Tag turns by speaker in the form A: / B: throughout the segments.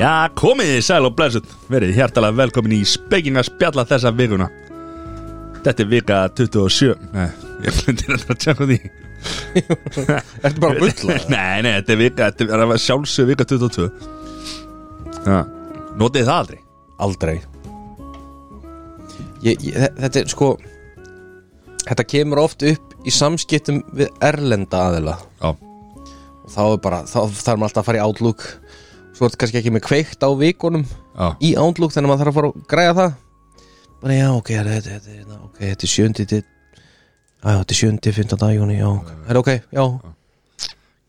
A: Já, komið þið sæl og blessuð Verið hjartalega velkomin í speking að spjalla þessa vikuna Þetta er vika 27 Nei, ég myndi þetta að tjaka því
B: Ertu bara að bulla?
A: Nei, nei, þetta er vika, þetta er að sjálfsög vika 22 Já, notið þið það aldrei
B: Aldrei ég, ég, þe- Þetta er sko Þetta kemur oft upp í samskiptum við erlenda aðila
A: Já,
B: og þá er bara, þá þarf maður alltaf að fara í Outlook svo er þetta kannski ekki með kveikt á vikunum
A: já,
B: í Outlook þannig að maður þarf að fara að græja það bara já, ok, þetta, þetta, þetta, þetta, ok, þetta er sjöndi til Já, þetta er sjöndi, 15. júni, já, ok, Það er ok, já,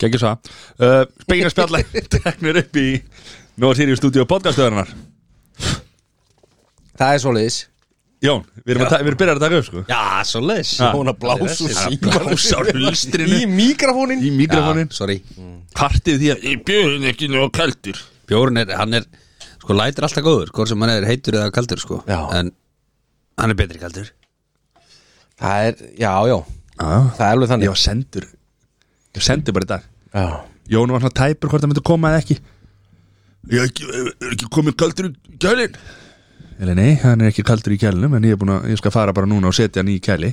A: geggjum svo uh, Speking að spjalla teknir upp í Nóa Sirius Studio podcastöðunar
B: það er svoleiðis
A: Jón, við erum, að, ta- við erum byrjar að taka upp sko
C: Já, svo leis
A: Já.
B: Hún að blása úr
A: Það er
B: símanum.
A: blása úr hulstrinu.
B: Í mikrofónin
A: Í mikrofónin
C: Sorry
A: Kartið því að Ég bjóðin ekki nóg kaldur
C: Bjórn er, hann er, sko lætir alltaf góður Hvor sem hann er heitur eða kaldur, sko
B: Já.
C: En hann er betri kaldur
B: Það er, já, já,
A: Já,
B: það er alveg
A: ég
B: þannig
A: var sendur Ég var sendur bara í dag
B: Já,
A: Jón var svona tæpur hvort það myndi koma eða ekki Ég er ekki, er ekki komið kaldur í kælin Eller nei, hann er ekki kaldur í kælinum En ég, er búinn að, ég skal fara bara núna og setja hann í kæli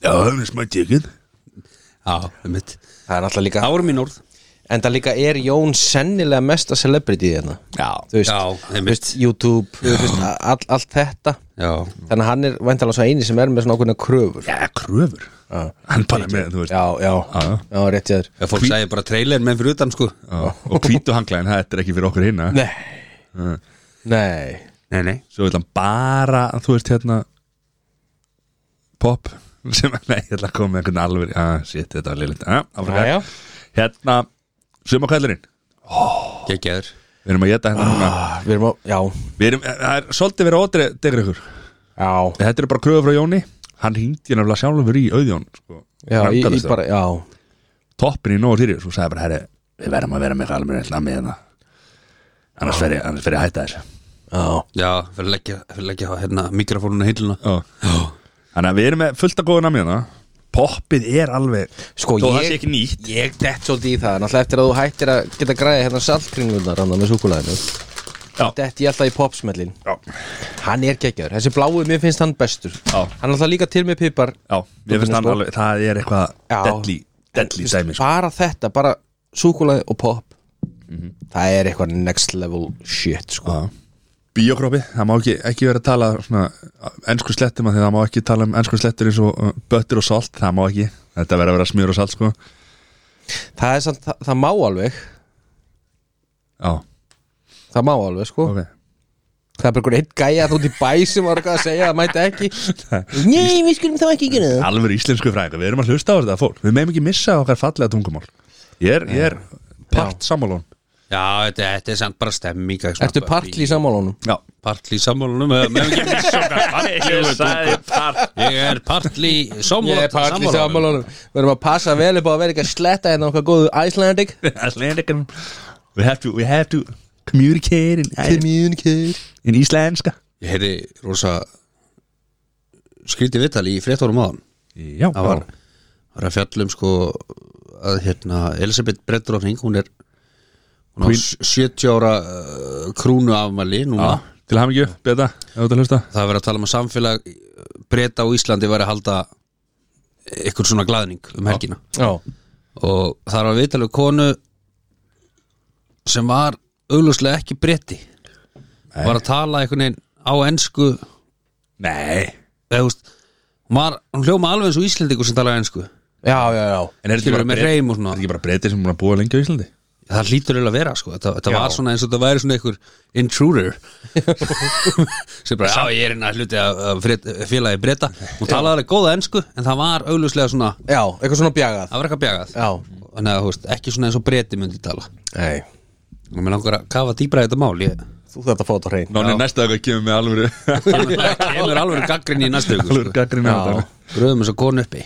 A: Já, hann er smætt ekki
C: Já, um mitt
B: það er alltaf líka
C: Það voru mín orð
B: En það líka er Jón sennilega mesta celebrity hérna
C: Já,
B: Þú veist,
C: já,
B: þú
C: einmitt
B: veist YouTube, þú veist, all, allt þetta
C: Já,
B: Þannig að hann er væntalega svo eini sem er með svona ákveðna kröfur
A: Já, kröfur
B: Já.
A: Hann bara með, þú veist
B: Já, já,
A: já.
B: já, rétt ég þér
C: já fólk sagði bara trailer menn fyrir utan, sko
A: Já, Og hvítu hanglæðin, það er ekki fyrir okkur hinna
B: Nei, nei
C: Nei, nei
A: Svo vil hann bara, þú veist, hérna Pop sem, Nei, ég ætla að koma með einhvern alveg ah, Shit, þetta var liðlind ah,
B: Jæja.
A: Hérna, sumakvæðlurinn
C: Gekkjaður
A: Við erum að geta hérna núna
B: Ah, Við erum á, já,
A: Við erum, eh, það er svolítið verið ódre degri ykkur
B: já,
A: Þetta eru bara kröðu frá Jóni Hann hringdi hérna sjálfur í auðjón sko,
B: já, í, í
A: Framkvæmdastjóra.
B: bara, já
A: Toppin í nógu týri Svo sagði bara, herri, við verðum að vera með eitthvað alveg hérna með hérna Annars fer ég, annars fer ég að hætta þessu
B: Já,
C: Já, fyrir að leggja, fyrir að leggja hérna mikrofónuna hilluna
A: Já. Þannig að við erum með fullt að góða namið hérna Poppið er alveg
B: Sko,
A: Þó það
B: ég-
A: sé ekki nýtt
B: ég dett svolítið í það en alltaf eftir að þú hættir að geta græði hérna saltkringlunar hann með súkulæðinu
A: Já.
B: dett ég alltaf í popsmellin
A: Já,
B: hann er geggjör, þessi blái, mér finnst hann bestur
A: Já.
B: hann er alltaf líka til með pipar
A: já, ég finnst hann
B: sko.
A: alveg Það er eitthvað
B: Já.
A: deadly, deadly dæmi sko.
B: bara þetta, bara súkulæði og pop það er eitthvað next level shit sko.
A: Bíokroppi, það má ekki, ekki vera að tala svona, ensku slettum að því það má ekki tala um ensku slettur eins og uh, böttur og salt, það má ekki Þetta verður að vera smjör og salt sko
B: það er samt, það, það má alveg
A: Já,
B: það má alveg sko
A: ok
B: það er bara einhvern einn gæja þú út í bæ sem var eitthvað að segja að mæta ekki nei, við skulum þá ekki gera það
A: Alveg íslensku fræðingar, við erum að hlusta á þetta fólk Við meðum ekki missa okkar fallega tungumál Ég er, ég er part sammálón
C: Já, þetta, þetta er samt bara stemming eitthvað
B: ertu
C: svona.
B: partli í sammálunum?
A: Já,
C: Partli í sammálunum eða með ekki missa okkar
A: Ég sagði
C: partli Ég er partli í sammálunum
B: Ég er part í sammálunum Við erum að passa vel upp á að vera ekki að sletta hérna okkar góðu Icelandic
A: Icelandic We have to, we have to communicate in,
B: Communicate
A: in íslenska
C: Ég heyrði rosa skrítið vital í fréttórum áðan
A: Já,
C: það var, var að fjallum sko að hérna Elisabeth Breddrófning hún er hún á
A: Queen.
C: s- 70 ára uh, krúnu afmæli núna
A: Já, Til hamingju, beta, ef þú ert að hlusta
C: það er verið að tala um að samfélag breyta á Íslandi væri að halda eitthvað svona glaðning um helgina
B: Já
C: og það var viðtalið konu sem var augljóslega ekki breyti var að tala einhvern veginn á ensku
A: Nei
C: eða, þú veist, hún, var, hún hljóma alveg eins og Íslandingur sem talaði ensku
B: Já, já, já
A: En er þetta ekki
C: Skilur með
A: bara
C: reym og svona
A: Er þetta ekki bara breytið sem búin að búa lengi á Íslandi?
C: það hlýtur eiginlega að vera sko þetta, þetta
B: Já.
C: var svona eins og þetta væri svona einhver intruder sem bara, já ég er hérna hluti af- af frétt- félagi breyta hún talaði alveg góða ensku en það var augljóslega svona
B: Já, eitthvað svona bjagað
C: það var eitthvað bjagað
B: Já.
C: þannig að þú veist, ekki svona eins og breyti myndi tala
B: Nei
C: og mér langar að kafa dýbra í þetta mál ég
B: Þú þarf að fá þetta á hrein
A: Nóni, næsta dag kemur með alvöru
C: kemur, kemur alveg gaggrinni í næstu viku
A: Alvöru
C: sko.
A: gaggrinu á þetta
C: bröðum þess að konu uppi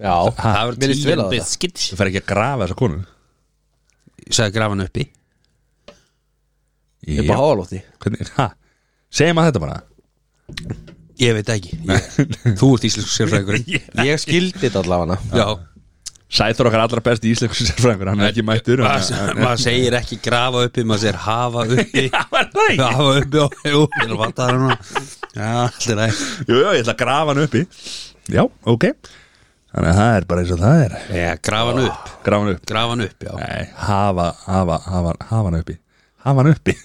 B: Já
C: það
B: Mér
C: verður
B: líst vel á
C: tíðan
B: þetta.
C: biskitt
A: Þú fer ekki að grafa þessa konu
C: sagði grafan uppi
B: Ég er bara
A: Já.
B: háalótti
A: Hvernig, ha? Segjum að þetta bara
C: ég veit ekki ég, þú ert íslensku sérfræðingurinn
B: Ég skildi þetta allavega
C: já
A: Sæþór okkar allra besti íslensku sérfræðingur Hann er ekki mættur
C: Maður-
A: hann- hann-
C: maður segir ekki grafa uppi maður segir hafa uppi
A: Var það ekki?
C: hafa uppi og jú, ég er að fatta það núna já, allt er aðeins
A: Jú, jú, ég ætla að grafa hann uppi Já, ok Þannig að það er bara eins og það er
C: já, grafa hann upp,
A: Grafa hann upp
C: grafa hann upp já.
A: Nei, hafa, hafa, hafa, hafa hann uppi Hafa hann uppi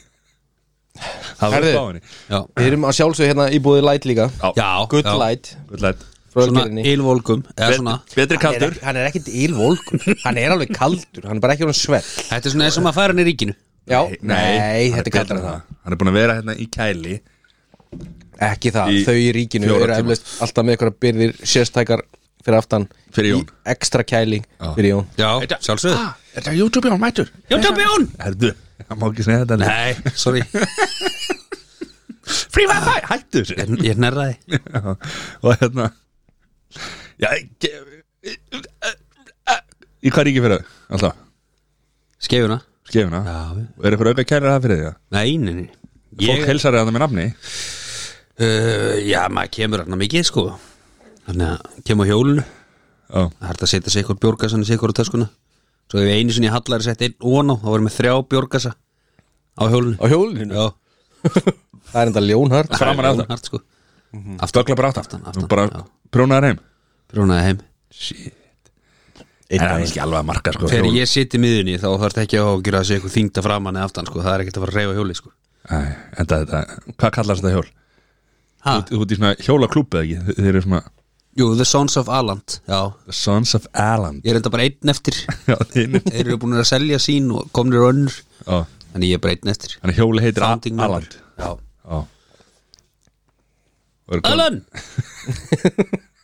A: Hafa
B: Herðu.
A: upp á henni
C: Já.
B: Við erum að sjálfsögja hérna íbúðið light líka
C: já,
B: Good
C: já.
B: light
A: Gullætt
B: frá
C: svona
B: Ölgerinni.
C: ylvolgum eða svona
A: Betri
B: Hann er
A: kaldur
B: ekki- Hann er ekkit ílvolgur Hann er alveg kaldur, hann er bara ekki alveg svell
C: þetta er svona eins og maður færa hann í ríkinu
B: Já,
A: Nei, hann
B: þetta er kaldur
A: betri
B: en
A: en
B: það
A: Hann er búin að vera hérna í kæli
B: Ekki það,
A: Í
B: þau í ríkinu
A: fjóra
B: eru
A: tíma.
B: eflaust alltaf með eitthvað byrðir sérstækar fyrir aftan
A: Fyrir
B: Í
A: Jón.
B: Extra kæli fyrir Jón
C: já, sjálfsögðu
A: Þetta er YouTube Jón mættur
C: YouTube Ah. Jón
A: Herðu, hann má ekki segja þetta Nei.
C: nei, sorry,
A: Free Wi-Fi, hættu þessu
C: ég, ég nærraði
A: Já, og hérna já ge- í hvað ríki fyrir það alltaf,
C: skefuna
A: skefina
C: já,
A: og eru fyrir auka kærir það fyrir því það
C: nei, nei, nei
A: fólk
C: ég,
A: helsar það með nafni
C: uh, já, maður kemur hann mikið sko þannig að kemur á hjólinu
A: Ó,
C: Það er hægt að setja sig ykkur bjórgasa í ykkur á töskuna Svo ef einu sinni hallari sett einn ón á þá varum við þrjá bjórgasa á hjólinu
B: Á hjólinu,
C: Já,
B: það er enda ljónhart
A: Framan af það. Mhm.
C: Hart, sko.
A: stöggla bara aftan
C: Aftan,
A: aftan
C: aftan,
A: bara
C: já.
A: prjónaðar heim
C: Brúnaði heim
A: Shit. en
B: Einn
A: það er
B: daginn.
A: ekki alveg að marka sko
C: Þegar
A: hjól.
C: ég sitt í miðunni þá þarf ekki að gera þessi ykkur þingda framan eða aftan sko. Það er ekkert að fara að reyfa hjóli sko.
A: Æ, enda þetta, hvað kallast þetta hjól?
C: Ha?
A: Þú ert í svona hjólaklúb eða ekki? Þe- Þeir eru svona
C: Jú, The Sons of Aland Já,
A: The Sons of Aland
C: ég er enda bara einn eftir
A: Já, þeir eru-
C: Þeir eru búin að selja sín og komnir önnur
A: Ó,
C: Þannig ég er bara einn eftir
A: Þannig hjóli heitir A-
C: Founding member.
A: Aland
C: Já.
A: Ó. Og eru komin-
C: Alan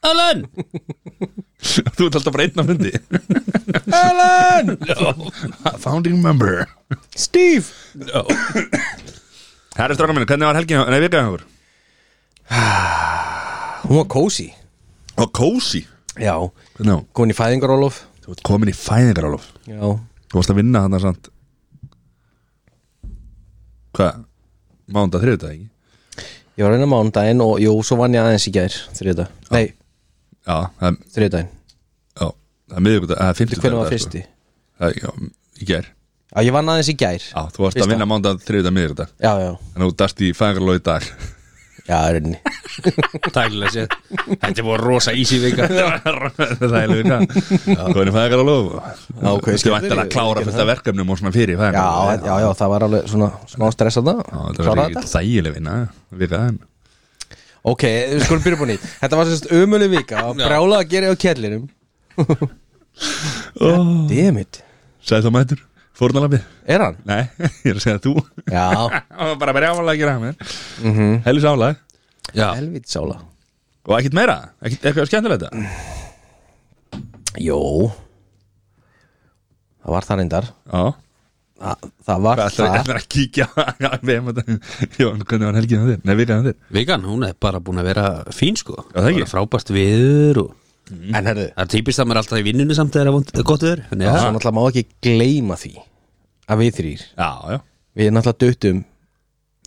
C: Alan
A: Þú ert alltaf bara einn af myndi
B: Alan,
A: Founding member
B: Steve
A: Herri strákar minni, hvernig var helgin, nei vikaðin okkur?
B: Hún var kósi
A: Og kósi
B: Já,
A: Hvernig á?
B: komin í fæðingarólof
A: Þú ert komin í fæðingarálof
B: Já,
A: Þú varst að vinna hann samt Hvað? Mánda þriðu dag, ekki?
B: ég var reyna mánudaginn og jú, svo vann ég aðeins í gær Þriða, nei,
A: Já, það er,
B: þriðdaginn
A: já, það er miðvikudag, það er 50
B: Hvernig var fyrsti?
A: Já, í ger
B: Já, ég vann aðeins í gær
A: Já, þú varst
B: Fyrsta.
A: að vinna mánda þriðu dag miðvikudag
B: Já, já,
A: Þannig að þú dast í fæðingarálof í dag
B: já, reyni
C: Tækilega séð Þetta voru rosa ísi vika
A: Það er líka Komin í fæðingarálof
B: Já, ok,
A: Þú veist,
B: skemmtileg.
A: væntanlega að klára fullt af verkefnum og svona fyrir í
B: já,
A: fæðingarálof
B: já, já, það var alveg svona smá stress að það
A: Já, þetta
B: Klára
A: var
B: þetta
A: ekki þægileg vinna Vikaðin
B: Ok, við skulum byrja búin í Þetta var sérst ömuleg vika og brjála að gera á kjellinum
A: oh.
B: Demit,
A: Sæð þá mættur, fórnalabbi
B: er hann?
A: Nei, ég er að segja þú
B: Já,
A: Það var bara að byrja álag að gera hann mm -hmm.
B: Mhm.
A: Helvis álag
C: Já,
B: helvít sála
A: Og ekkert meira, ekkert, eitthvað skemmtilegt það?
B: Jó Það var það reyndar
A: Já,
B: Það, það var
A: hvað ætlar
B: það
A: ætlar að kíkja Já, við hefum þetta um- Jón, hvernig var helgin að þér? Nei, vikaðin að þér
C: Vikan, hún er bara búin að vera fín sko
A: Já, það ekki.
C: Bara frábært viður og
B: En herðu,
C: það er típist að maður er alltaf í vinnunni samt þegar það er vont- er gott viður Þannig
B: svo
C: að
B: náttúrulega má ekki gleyma því að við þrýr
A: Já, já,
B: Við náttúrulega döttum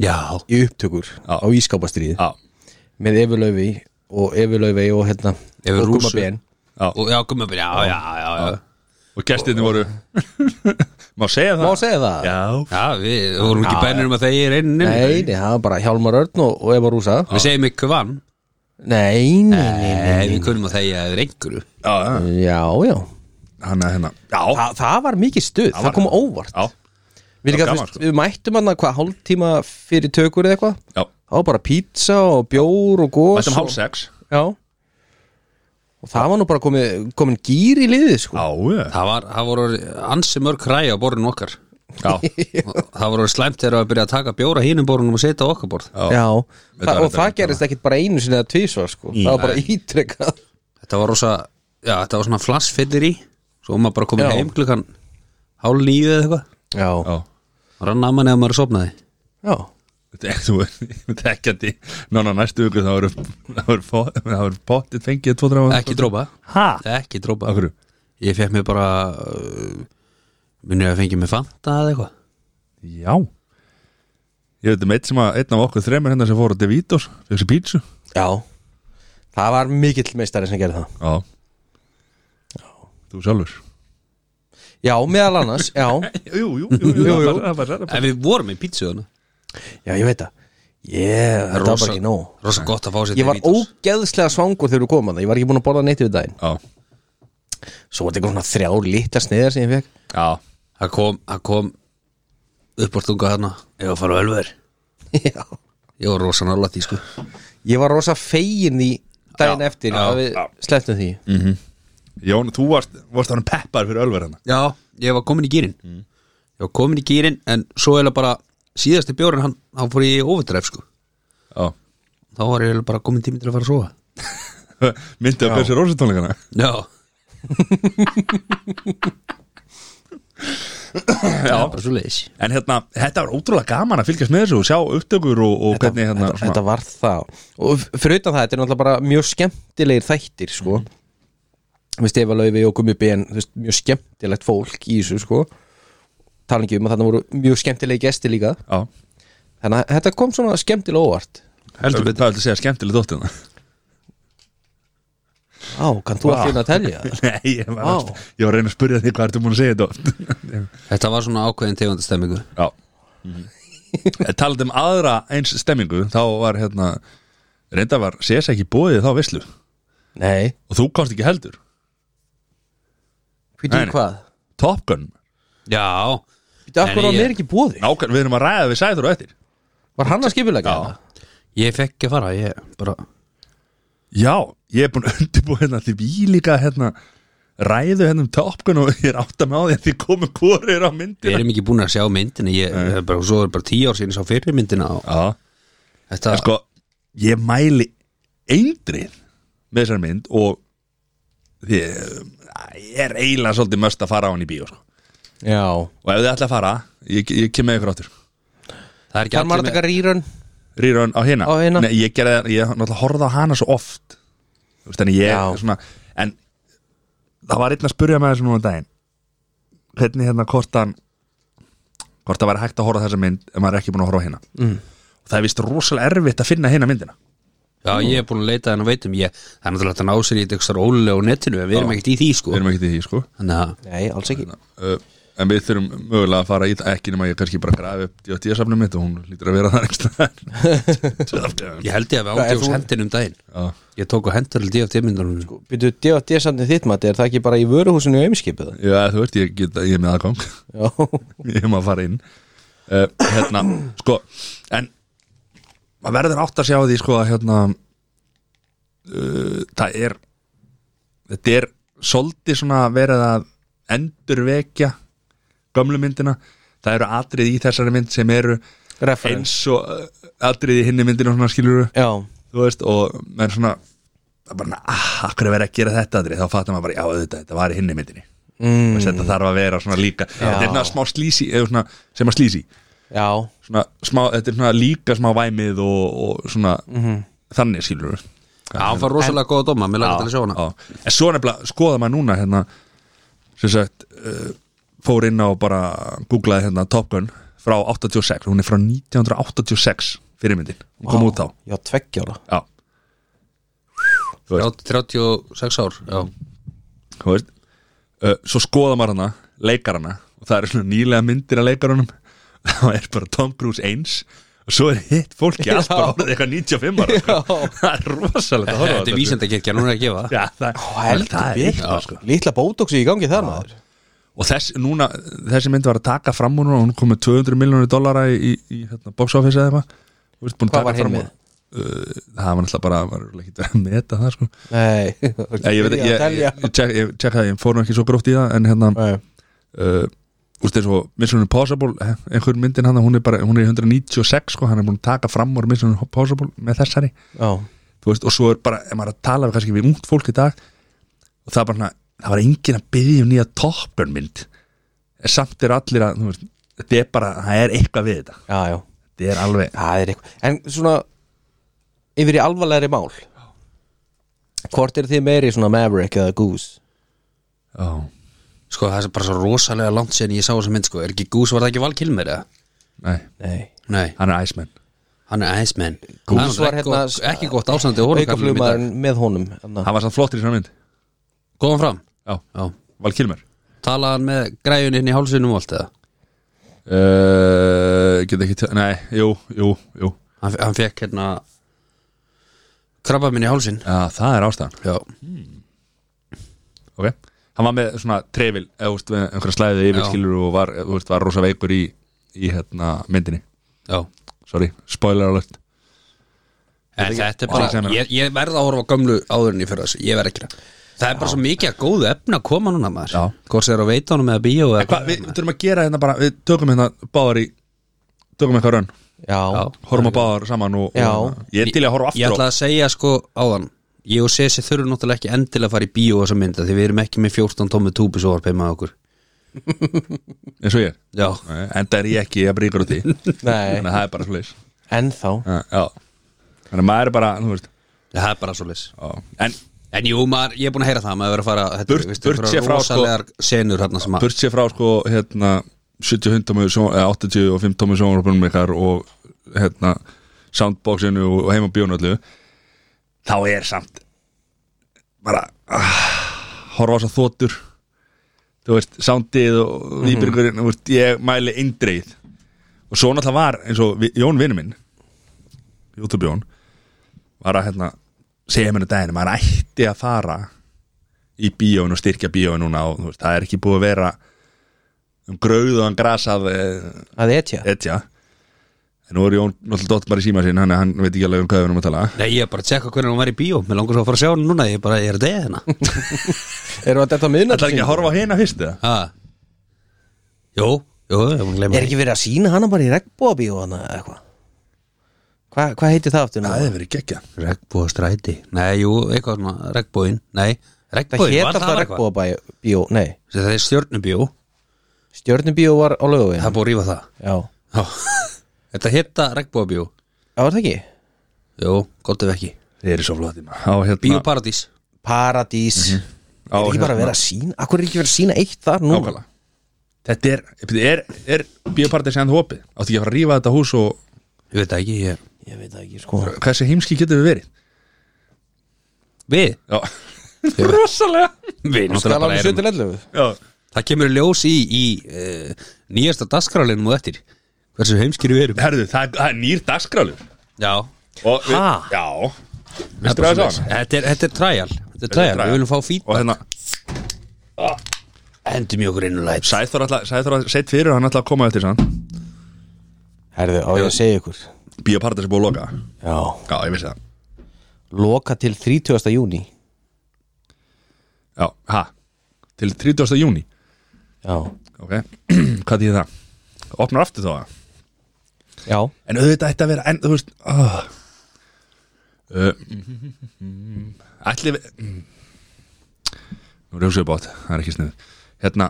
C: Já,
B: í upptökur á ískápastrýð
A: já,
B: með Evu Laufi og Evu Laufi og hérna
C: Evu
B: og
C: Rússu.
B: Gumma Ben
A: já
C: og já, komum upp, já, já, já, já
A: Og gestinni voru Má segja það?
B: Má segja það?
A: Já,
C: Já, við vorum ekki bennir um að þeir einninni
B: Nei, nei, það var bara Hjálmar Örn og, og Eva Rúsa
C: Við segjum ekki vann
B: Nei, nei, nei,
C: Nei, við kunum að þeir er einhverju
A: já, já
B: nei Já, já
A: Hanna, hérna Já,
B: Þa, það var mikið stuð, það, kom óvart
A: já,
B: við, líka,
A: gaman,
B: gaman,
A: sko.
B: við mættum hann hvað hálftíma fyrir tökur eða eitthvað
A: já
B: það var bara pizza og bjór og gos
A: Mættum
B: og,
A: hálf sex
B: já. og það var nú bara komið, komin gýr í liðið sko.
A: Já, já
C: Það var, það voru orðið ansi mörg hræja á borðinu okkar
A: Já,
C: Og Það voru orðið slæmt þegar að byrja að taka bjóra hínum borðunum og setja á okkar borð
A: já,
B: já,
A: Þetta
B: Þa,
A: var
B: og það gerist ekkit bara einu sinni eða tvísvar sko. það var bara ítrekkað
C: Þetta var rosa, já, þetta var svona flassfyllir í Svo var maður bara komin
B: Já.
C: heim klukkan hálf níu eða eitthvað
B: já,
A: já
C: Rann að manni að maður sopnaði
B: já,
A: Þetta er- þú er þekkjandi nána næstu viku þá eru þá eru fo- þá eru pottit fengið tvo dráma
C: Ekki drópa Ekki drópa
A: okkur
C: Ég fekk mér bara uh, Minni að fengi mér fanta eða eitthvað
A: já ég veit um eitt sem að einn af okkur þremur hérna sem fór á Devitos fyrir þessi pítsu
B: já það var mikill meistari sem gerði það
A: já Þú sjálfur
B: Já, meðal annars, já
A: Jú, jú, jú,
B: Jú, jú.
A: það var- það var-
C: En við vorum í pítsuðuna
B: Já, ég veit það Yeah, þetta var bara ekki nóg
C: Rosa gott að fá sér
B: Ég var
C: Doritos.
B: ógeðslega svangur þegar við komum að það Ég var ekki búin að borða neitt við daginn
A: Já,
B: Svo var þetta eitthvað svona þrjár litla sniðar sem ég fekk
A: já
C: Það kom, það kom uppbortunga þarna Ég var að fara á ölver
B: Já
C: Ég var rosa nála því sko
B: Ég var rosa fegin í daginn
C: Já,
B: eftir
C: já,
B: að við slepptum því
A: Jón, þú varst, varst hann peppar fyrir hérna. ölverðana
C: Já, Mm. ég var komin í gýrin Ég var komin í gýrin en svo eiginlega bara síðasti bjórin hann, hann fór í overdreif sko
A: Já
C: Þá var ég eiginlega bara komin tími til að fara að sofa
A: Myndi að byrja sér rósatónleikana
C: Já, já bara svo leiðis
A: En hérna, þetta var ótrúlega gaman að fylgjast með þessu og sjá upptökur og, og hvernig hérna
B: þetta, þetta var það og f- fyrir utan það, þetta er náttúrulega bara mjög skemmtilegir þættir sko við stefa laufi og gummi ben þú veist, mjög skemmtilegt fólk í þessu sko tala ekki um að þarna voru mjög skemmtilegi gesti líka
A: Já,
B: þannig að þetta kom svona skemmtilega óvart
A: heldur betur Það viltu segja skemmtileg dóttina
B: á, kann þú að finna að telja
A: Nei, ég var,
B: Vá.
A: alltaf, ég var að reyna að spyrja þig hvað ertu búin að segja þetta oft?
C: Þetta var svona ákveðin tegundastemmingu
A: Já Mhm. En Talandi um aðra eins stemmingu þá var hérna reynda var sérs ekki bóðið þá veislu og
B: nei,
A: þú komst ekki heldur Nei,
B: hvítið
A: nei.
B: hvað
A: Top Gun
C: Já,
B: hvítið
C: Nei,
B: af hverju
C: nei,
B: var
C: ég-
B: mér ekki bóði
A: Nákvæm, við erum að ræða við sæður og eftir
B: var hann að skipulega
A: Já.
C: ég fekk ekki að fara Ég bara
A: Já, ég er búin að undirbúið hérna því við líka hérna ræðu hérna um Top Gun og ég er átt að með á því að því komu kóriður á
C: Við
A: myndina
C: erum ekki búin að sjá myndina ég, eh, bara, Svo er bara tíu ár síðan ég sá fyrir myndina og
A: Já,
C: Þetta,
A: en sko ég mæli eindrið með þessari mynd og því ég er eiginlega svolítið möst að fara á hann í bíó sko.
B: já
A: og ef þið ætla að fara, ég, ég kem með ykkur áttur
C: það er ekki
B: kann maður að taka rýrun
A: rýrun á hérna,
B: Á hina.
A: Nei, ég gerði, ég náttúrulega horfði á hana svo oft Þú veist, þannig ég
B: Já.
A: svona, en það var einn að spurja með þessu núna um daginn hvernig hérna hvort hann hvort það væri hægt að horfa á þessa mynd ef maður er ekki búin að horfa á hérna mm. og það er vist rosalega erfitt að finna hérna myndina
C: Já, ég er búin að leita henn og veitum ég, Það er náttúrulega hægt að ná sér í þetta eitthvað ólega á netinu en Við erum ekkert í því sko
A: við erum ekki til því sko
C: Þannig að
B: nei, alls ekki
A: uh, en við þurfum mögulega að fara í það ekki nema ég kannski bara grafi upp DFT-safnum mitt og hún lítur að vera það einhverstaðar
C: ég held ég að við
B: Hvað, er
C: átti
B: þú-
C: hos hendin um daginn
A: Já.
C: Ég tók á hendur held ég sko. af tímyndunum
B: byrju, D.O.D. samtinn þitt mati, er það ekki bara í vöruhúsinu í eimskipið?
A: Já, þú veist, ég, get, ég er með aðgang
B: já
A: ég má fara inn uh, hérna, sko en maður verður átt að sjá því sko að hérna uh, það er þetta er svolítið svona verið að endurvekja gömlu myndina það eru atrið í þessari mynd sem eru
B: referens
A: eins og uh, atrið í hinni myndinu svona skilur
B: já
A: þú veist og menn svona það er bara, ah, akkur er verið að gera þetta atrið þá fattar maður bara, já auðvitað, þetta var í hinni myndinni mm. þetta þarf að vera svona líka þetta er svona smá slísi, eða svona sem að slísi
B: Já,
A: svona smá, þetta er svona líka smá væmið og, og svona þannig skilur við
C: Já, hann fær rosalega góða dóma, mér langar til að sjá hana
A: Já. en svo nefnilega skoða maður núna hérna, sem sagt uh, fór inn á bara googlaði hérna Top Gun frá 86 hún er frá 1986 fyrirmyndin, hún kom út þá
B: já, tveggjára
A: já,
C: Þrjá- 36 ár, já
A: þú veist uh, svo skoða maður hana, leikarana og það eru svona nýlega myndir að leikarunum það er bara Tom Cruise eins og svo er hitt fólki allt bara orðið eitthvað 95 ára sko. það er rosalega
C: Þetta er vísendakirkja, hún er að gefa
A: Já, það, það er eitthvað sko.
B: Lítla bótóksi í gangi þar maður
A: Og þess, núna, þessi mynd var að taka fram úr núna og hún kom með 200 miljónir dollara í, í, í hérna, box office eða eitthvað Þú veist, búin að
B: Hvað var
A: taka
B: hinn
A: fram
B: með?
A: úr. Uh, það var náttúrulega bara, var ekki verið að meta það sko.
B: Nei,
A: Nei, ég veit ekki, ég,
B: telja.
A: ég, ég, tek- ég tjekka það, ég fór nú ekki svo gróft í það en hérna,
B: Nei.
A: uh, úst eins og Mission Impossible, eh, einhver myndin hann hún er bara, hún er í 196 sko, hann er búin að taka fram úr Mission Impossible með þessari
B: Já,
A: Þú veist, og svo er bara, ef maður er að tala við kannski við ungt fólk í dag og það er bara, svona, það var engin að byggja um nýja toppurnmynd en samt er allir að, þú veist þetta er bara, það er eitthvað við þetta
B: já, já,
A: þetta er alveg,
B: það er eitthvað En svona, yfir í alvarlegri mál Hvort er þið meiri svona Maverick eða Goose?
A: já,
C: Sko, það er bara svo rosalega langt sér en ég sá þessa mynd, sko Er ekki Goose, var það ekki valkilmer, eða?
A: nei
B: Nei
C: Nei,
A: hann er Iceman
C: hann er Iceman
B: Goose
C: Það
B: var
C: er ekki
B: hérna-
C: gott- Ekki gott ástandi og
B: Aukaflugmaðurinn með honum anna.
A: hann var samt flottir í svona mynd
C: Góðan fram
A: já,
C: Já,
A: Val Kilmer
C: Talaði hann með græjun inn í hálsunum og allt eða
A: uh, Get ekki, tjá- nei, jú, jú, jú
C: Hann, hann fekk hérna Krabba minn í hálsin
A: Já, það er ástæðan
C: Já,
A: ok Hann var með svona trefil eða þú veist, með einhverja slæðið yfir
C: Já.
A: skilur og var, þú veist, var rosa veikur í, í hérna, myndinni
C: já
A: Sorry, spoiler alert
C: En þetta er
A: Ég sem
C: bara,
A: er-
C: ég, ég verð að horfa á gömlu áðurinn í fyrir þessu, ég verð ekki það Það er bara svo mikið að góðu efna að koma núna maður
A: Já.
C: Hvort sem er á veitunum eða bíó eða
A: Hva, Við við þurfum að gera hérna bara, við tökum hérna báðar í tökum eitthvað raun,
B: Já,
A: horfum að báðar saman og,
B: Já.
A: og ég er til í að horfa
C: Ég
A: aftur á
C: ætla að segja sko áðan Ég og Sessi þurfum náttúrulega ekki endilega að fara í bíó þessa mynda Því við erum ekki með 14 tómi túbisóvarpið með okkur
A: eins og ég er
C: Já,
A: Nei, enda er ég ekki að bríkur út í þannig
B: nei,
A: að það er bara svoleiðis
B: ennþá
A: Já, já. þannig að maður er bara, þú veist
C: það er bara svo leys
A: já. en
C: En jú, maður, ég er búin að heyra það Maður verið að fara, þetta
A: Burt-
C: veistu,
A: burt sé
C: einhverjar
A: frá, sko-
C: Rosalegar senur hérna sem að
A: burt sér frá sko hérna 75 tómi, sjón- eða 85 tómi sjónvarpunum ykkar og hérna soundboxinu og heima bjónu allu þá er samt bara ah, horfa á þess að þotur þú veist, soundið
C: Mhm.
A: og výbyrgurinn, þú veist, ég mæli eindreið og svo náttúrulega var eins og vi- Jón vinnu minn YouTube Jón var að hérna, segja mér um daginn að maður ætti að fara í bíóin og styrkja bíóin núna og þú veist, það er ekki búið að vera um gröðuðan grasað eh,
B: Að etja
A: etja en nú er Jón náttúrulega dott bara í síma sín hann, hann veit ekki alveg um hvað við erum að tala
C: Nei, ég er bara að tjekka hvernig hún var í bíó Mér langar svo að fara að sjá hann núna Ég er bara, ég er að deyja hérna
B: Eru að þetta miðnætt
A: Það er ekki að horfa á hina fyrst eða?
C: Ha? Jú, jú, ég mun glemma
B: Er ekki verið að sína hana bara í regnbóabíu hana eða eitthvað Hva, Hvað heitir það aftur? nú?
A: Það er verið gekkja
C: Regnbúa stræti Nei, jú, eitthvað svona, regnbúin Nei,
B: Það
C: regnbúin,
B: hét
C: var
B: alltaf
C: það eitthvað?
B: regnbóabíu Nei,
C: Það er stjórnubjó,
B: stjörnubíu var á löguvin
C: það er búið að rífa það
B: Já,
C: Já. Þetta hitta regnbúabjó
B: það var það ekki?
C: Jú, gott ef ekki
A: Þeir eru svo flott á hérna
C: Bíóparadís
B: Paradís
A: á, hérna.
B: Er ekki bara að vera að sína? Akkur er ekki verið að sína eitt þar nú?
A: Nákvæmlega Þetta er, er, er bíópartið sem þú opið Áttu ekki að fara að rífa þetta hús og
C: Ég veit það ekki, ég er
B: Ég veit það ekki sko
A: hversu heimski getur við verið
C: Við?
A: Já Rosalega
C: Við
B: Það er alveg 7-11
A: Já
C: Það kemur í ljós í, í uh, nýjasta dagskrálinum og eftir Hversu heimskir við erum
A: Herðu, það, það er nýr dagskrálur
C: Já
A: Og við-
B: Ha?
A: Já
C: Það er
A: Vistu
C: bara
A: hvað það
C: svoleiðis.
A: sá hana?
C: Þetta er, þetta er trial Þetta er
A: Þetta er
C: trial, við viljum fá fít
A: Og hérna
C: Endum ég okkur inn og læt
A: Sæþór alltaf, Sæþór alltaf, sett fyrir hann alltaf að koma eftir sann
B: Herðu, á ég að segja ykkur
A: Bíópartið sem búið að loka
B: Já
A: Já, ég vissi það
B: Loka til 30. júni
A: Já, ha Til 30. júni
B: Já
A: Ok, hvað þýðir það? Opnar aftur þá það
B: Já
A: En auðvitað ætti að vera, en þú veist oh. uh, Ætli við mm. Nú er hugsaðu bát, það er ekki snið Hérna,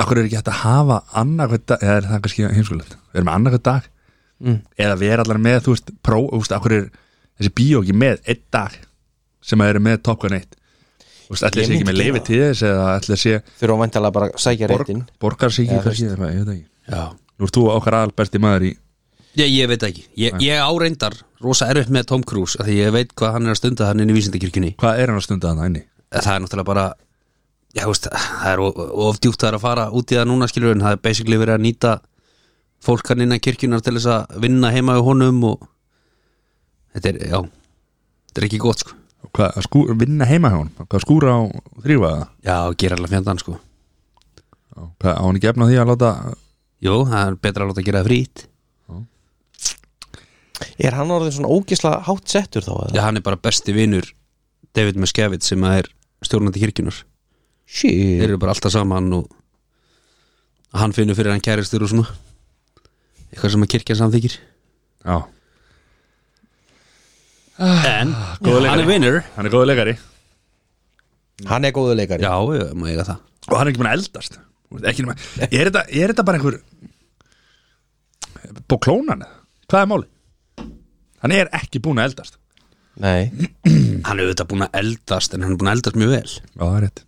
A: akkur er ekki hægt að hafa annað hvern dag, eða er það kannski heimskulegt Við erum annað hvern dag
B: Mm.
A: Eða við erum allar með, þú veist, pró, þú veist, akkur er þessi bíó ekki með einn dag sem að eru með Top Gun 1 Þú veist, ætli
B: Ég
A: þessi ekki
B: myndi
A: með
B: gera
A: leifi
B: það.
A: til þess eða ætli þessi
B: Þurfa vantalega bara að sækja
A: borg,
B: réttin
A: borgarsíki
B: Eða, þú
A: kannski, eða eitthvað, ég veit það ekki
C: Já
A: Nú ert þú okkar aðal besti maður í
C: Ég, ég veit ekki, ég, ég áreindar rosa erfitt með Tom Cruise af Því ég veit hvað hann er að stunda hann inn í vísindakirkjunni
A: Hvað er hann að stunda þannig inni?
C: Eh, Það er náttúrulega bara Já, þú veist, það er of, of djúpt það er að fara út í það núna skilur En það er basically verið að nýta fólk hann innan kirkjunar til þess að vinna heima við honum og Þetta er, já Þetta er ekki gott sko
A: Og Hvað, að skú, vinna heima hjá hún? Hvað skúra á þrýfa það?
C: Já, gera alveg fjöndan sko
A: Hvað, á hann ekki efna því að láta
C: Jú, það er betra að láta að gera það frýtt
B: Er hann orðin svona ógisla hátt settur þá? eða?
C: Já, hann er bara besti vinur David Muscavige sem að er stjórnandi kirkjunar Þeir
B: Shit
C: eru bara alltaf saman og hann finnur fyrir hann kæristur og svona eitthvað sem að kirkja samþykir
A: Já,
C: en hann er vinnur
A: hann er góðu leikari
B: Hann er góðu leikari
C: já, ég má eiga það
A: Og hann er ekki búin að eldast Þú veist, ekki nema, er, þetta, er þetta bara einhver Bó klónan? eða? Hvað er máli? Hann er ekki búin að eldast
B: Nei
C: hann er auðvitað búin að eldast en hann er búin að eldast mjög vel
A: Já, það er rétt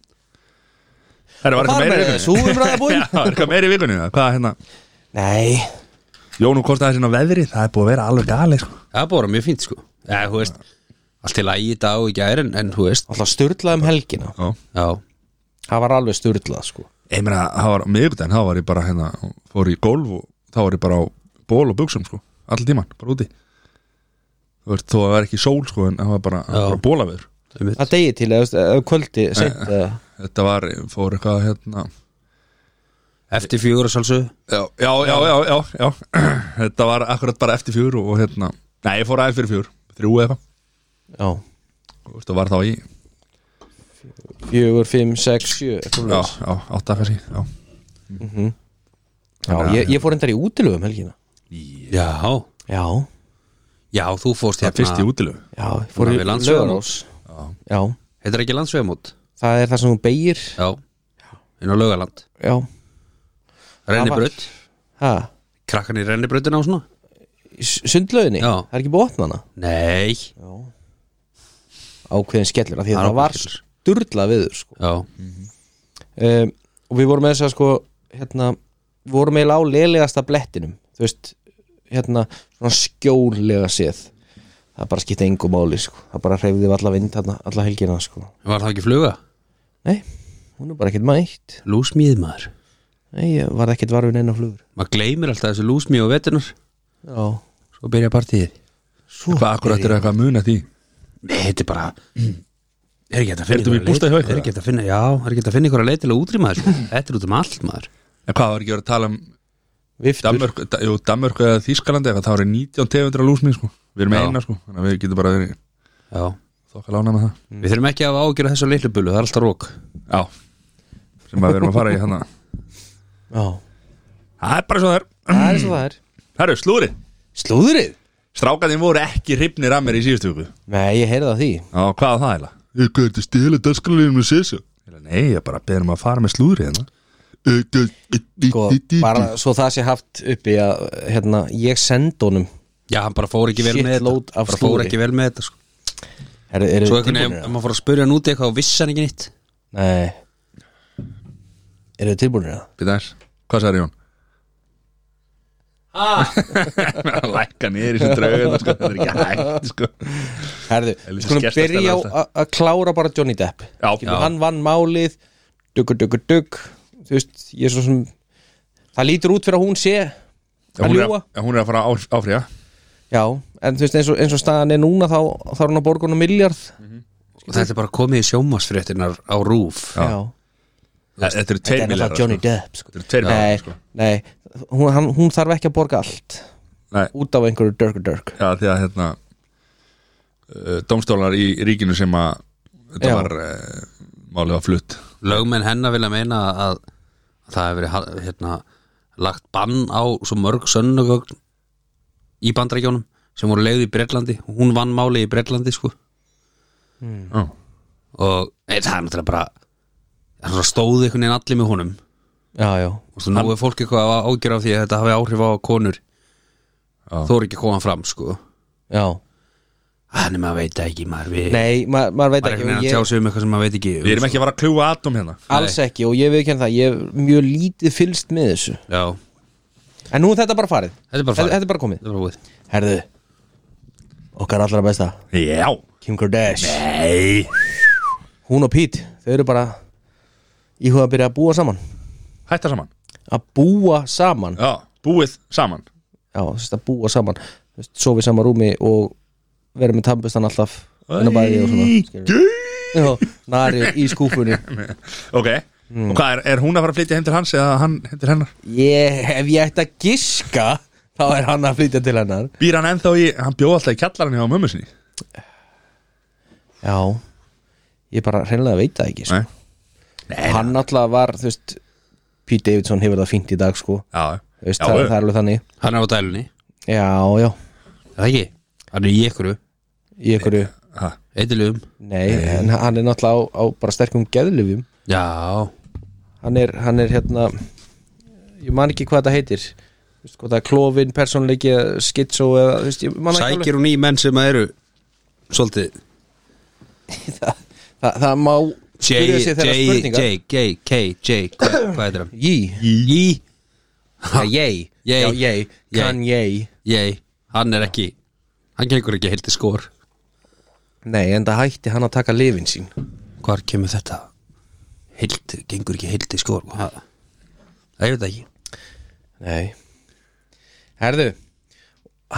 A: Það var
B: Fara
A: eitthvað meira í
B: með
A: vikunni
B: súumræðabúinn.
A: Já, Það var eitthvað meira í vikunni eða? Hvað hérna
B: Nei
A: Jón og Kosta þessin á veðri Það er búið að vera alveg gali sko.
C: það er bara mjög fínt sko ja, þú veist, allt til að í dag og í gær en, en þú veist
B: Alltaf styrlað um helgina
A: Já
C: já,
B: það var alveg styrlað sko
A: Ég meina, það var miðvikudaginn, þá var ég bara hérna, fór í golf og þá var ég bara á ból og buksum sko, all tíman, bara úti Þú veist, þó að það var ekki sól sko, en það var bara,
C: Já.
A: bara bólaveður
C: einmitt.
B: að degi til eða þú veist, eða kvöldi seint eða
A: Þetta var, fór eitthvað hérna
C: Eftir fjögur að sjálfsög
A: Já, já, já, já, já, já. Þetta var akkurat bara eftir fjör og hérna, nei, ég fór aðeins fyrir fjör, þrjú eða eitthvað,
B: já,
A: Þú veist, það var þá í,
B: fjögur, fimm, sex, sjö eitthvað
A: já,
B: svoleiðis.
A: já, átta kannski, já
B: já, ég, ég fór endar í útilöfum helgina
C: Já,
B: já,
C: já, þú fórst
A: Það er fyrst í
C: hérna
A: útilegu
B: já, ég fór í
C: Þannig að við landsvegamót.
B: Laugarás. já,
C: Þetta er ekki landsvegamót
B: það er það sem þú beigir
C: Já, inn á Laugaland
B: já,
C: Rennibraut,
B: hæ,
C: krakkan í rennibrautina og svona
B: sundlöginni
C: Já.
B: það er ekki búið að opna hana
C: Nei,
B: ákveðin skellur af því að
C: Það er
B: það var
C: ákveðin
B: styrlað viður sko
C: já,
B: um, og við vorum með þess að sko hérna, við vorum eiginlega á leilegasta blettinum þú veist, hérna svona skjólega séð það bara skipti engu máli sko það bara hreyfði við alla vind, hérna, alla helgina sko
C: var það ekki fluga?
B: nei, hún er bara ekkert mætt
C: Lúsmíð maður
B: nei, ég var ekkert varfin einn á flugur
C: Maður gleymir alltaf þessu lúsmíð og veturnar
B: já,
C: Svo byrja partíð
B: svo
A: Hvað akkurat er eitthvað að muna því?
C: Nei, þetta er bara Mm. Er ekki hægt að finna
A: Ertu með
C: einhverja
A: bústað hjá
C: leið-
A: ykkur,
C: Er ekki hægt að finna, já, er ekki hægt að finna ykkur að leitilega útrýma þessu Þetta er út um allt maður
A: En hvað var ekki verið að tala um
B: viftur
A: Danmörk, da, jú, Danmörk eða Þískalandi eitthvað, það voru 19 tegundra lúsmi sko. við erum með
C: Já.
A: eina sko, þannig að við getum bara verið
C: Já,
A: þokka lána með það
C: við þurfum ekki að ágjöra þessu litlu bulu, það er alltaf rók
A: já. sem að við erum að fara í hana
B: já,
A: það er bara svo þær,
B: það er svo það er
A: herru, slúri
B: slúðrið?
A: strákanin voru ekki hrifnir að mér í síðustu viku
B: nei, ég heyrði það því
A: já, hvað var það eða? hvað er þetta stila dagskralinu með sessa? nei, ég bara beðum að fara með slúri hérna
B: sko, bara svo það sé haft uppi að hérna, ég sendi honum
C: Já, hann bara fór ekki vel með
B: Shitload
C: þetta
B: af
C: Bara fór
B: slúðri.
C: ekki vel með þetta sko.
B: er, er,
C: Svo einhvern veginn, ef maður fór að spurja hann út í eitthvað og vissi hann ekki nýtt
B: Nei Eru þið tilbúinir það?
A: Býtæs, hvað sagði Jón? Ah. Lækka niður í þessu draugun sko. Það er ekki hægt sko.
B: Herðu,
A: Helvítis
B: skulum
A: gestastæla
B: byrja á
A: þetta.
B: að- að klára bara Johnny Depp
A: Já.
B: Skilur,
A: Já.
B: Hann vann málið Duggur, duggur, dugg Þú veist, ég er svo sem Það lítur út fyrir að hún sé
A: Hún
B: að
A: er
B: ljúa
A: að- hún er að fara að áfriða
B: Já, en þú veist, eins og, eins og staðan er núna þá, þá er hann á borgunum miljard
C: Og þetta er bara komið í sjómasfréttinar á rúf
B: Já,
A: Þetta eru
B: þetta
A: tveir
B: er náttúrulega Johnny
A: milljar
B: Depp sko.
A: Þetta eru tveir
B: Nei,
A: milljarðar, sko.
B: nei hún, hann, hún þarf ekki að borga allt
A: Nei.
B: Út af einhverju dörgur dörg
A: Já, því að hérna uh, Dómstólar í ríkinu sem að Þetta
B: Já.
A: var uh, Málið var flutt
C: Lögmenn hennar vilja meina að að það hefur verið ha- hérna, lagt bann á svo mörg sönnugögn í bandrækjónum sem voru leiði í Bretlandi hún vann máli í Bretlandi sko
A: Já,
C: og e, það er náttúrulega bara það stóði einhvern veginn allir með honum
B: Já, já,
C: og svo nú er fólk eitthvað að ágjöra af því að þetta hafi áhrif á konur
A: Já.
C: þó er ekki að koma fram sko
B: já
C: Þannig maður veit það ekki maður við
B: Nei, ma maður veit
C: maður er
B: ekki
C: einhvern
B: og
C: veginn að
B: ég-
C: tjá sig um eitthvað sem maður veit ekki
A: Við erum ekki að fara að kljúa atom hérna
B: Alls ekki og ég viðkjörn það, ég hef mjög lítið fylst með þessu
C: Já,
B: En nú er þetta bara farið
C: Þetta er bara farið.
B: Þetta er bara komið
C: það var búið
B: Herðu, okkar allra besta
A: Já
B: Kim Kardashian,
A: Nei
B: hún og Pete Þau eru bara íhuga að byrja að búa saman
A: Hætta saman
B: Að búa saman Já,
A: Já, búið saman
B: þú veist að búa saman Þú veist, Sofa í sama rúmi og vera með tannbustan alltaf inn á bæði og svona skilurðu. Já, Nari í skúfunni
A: Ok
B: Hmm.
A: Og hvað er, er hún að fara að flytja heim til hans eða hann heim til hennar?
B: ég, Ef ég ætti að giska Þá er hann að flytja til hennar
A: Býr hann ennþá í, hann bjóð alltaf í kjallarinn hjá mömmu sinni
B: Já Ég bara hreinlega veit það ekki sko.
A: Nei
B: hann náttúrulega var þú veist Pete Davidson hefur það fínt í dag sko
A: Já,
B: Þú veist,
A: já,
B: það,
A: já.
B: það er alveg þannig
C: Hann er á dælunni,
B: já, já,
C: er það ekki? Hann er í einhverju,
B: í einhverju
A: Ha,
C: eitthilum
B: nei, en hann er náttúrulega á, á bara sterkum geðlifjum
C: Já,
B: hann er, hann er hérna ég man ekki hvað það heitir Þú veist, hvað það er klófin, persónleiki skitso eða, þú veist, ég man ekki alveg
C: sækir hún í menn sem að eru Svolítið
B: það, það, það má
C: J,
B: spyrja
C: J,
B: sig þeirra
C: J,
B: spurningar
C: J, K, J Hvað hvað heitir hann?
B: Jí,
C: J,
B: það er ég
C: Yay.
B: já, ég,
C: Yay.
B: kann ég
C: J, hann er ekki Hann gengur ekki heilt í skor
B: nei, en það hætti hann að taka lifin sín
C: Hvar kemur þetta? heilt, gengur ekki heilt í skór sko. það, það er þetta ekki
B: Nei Herðu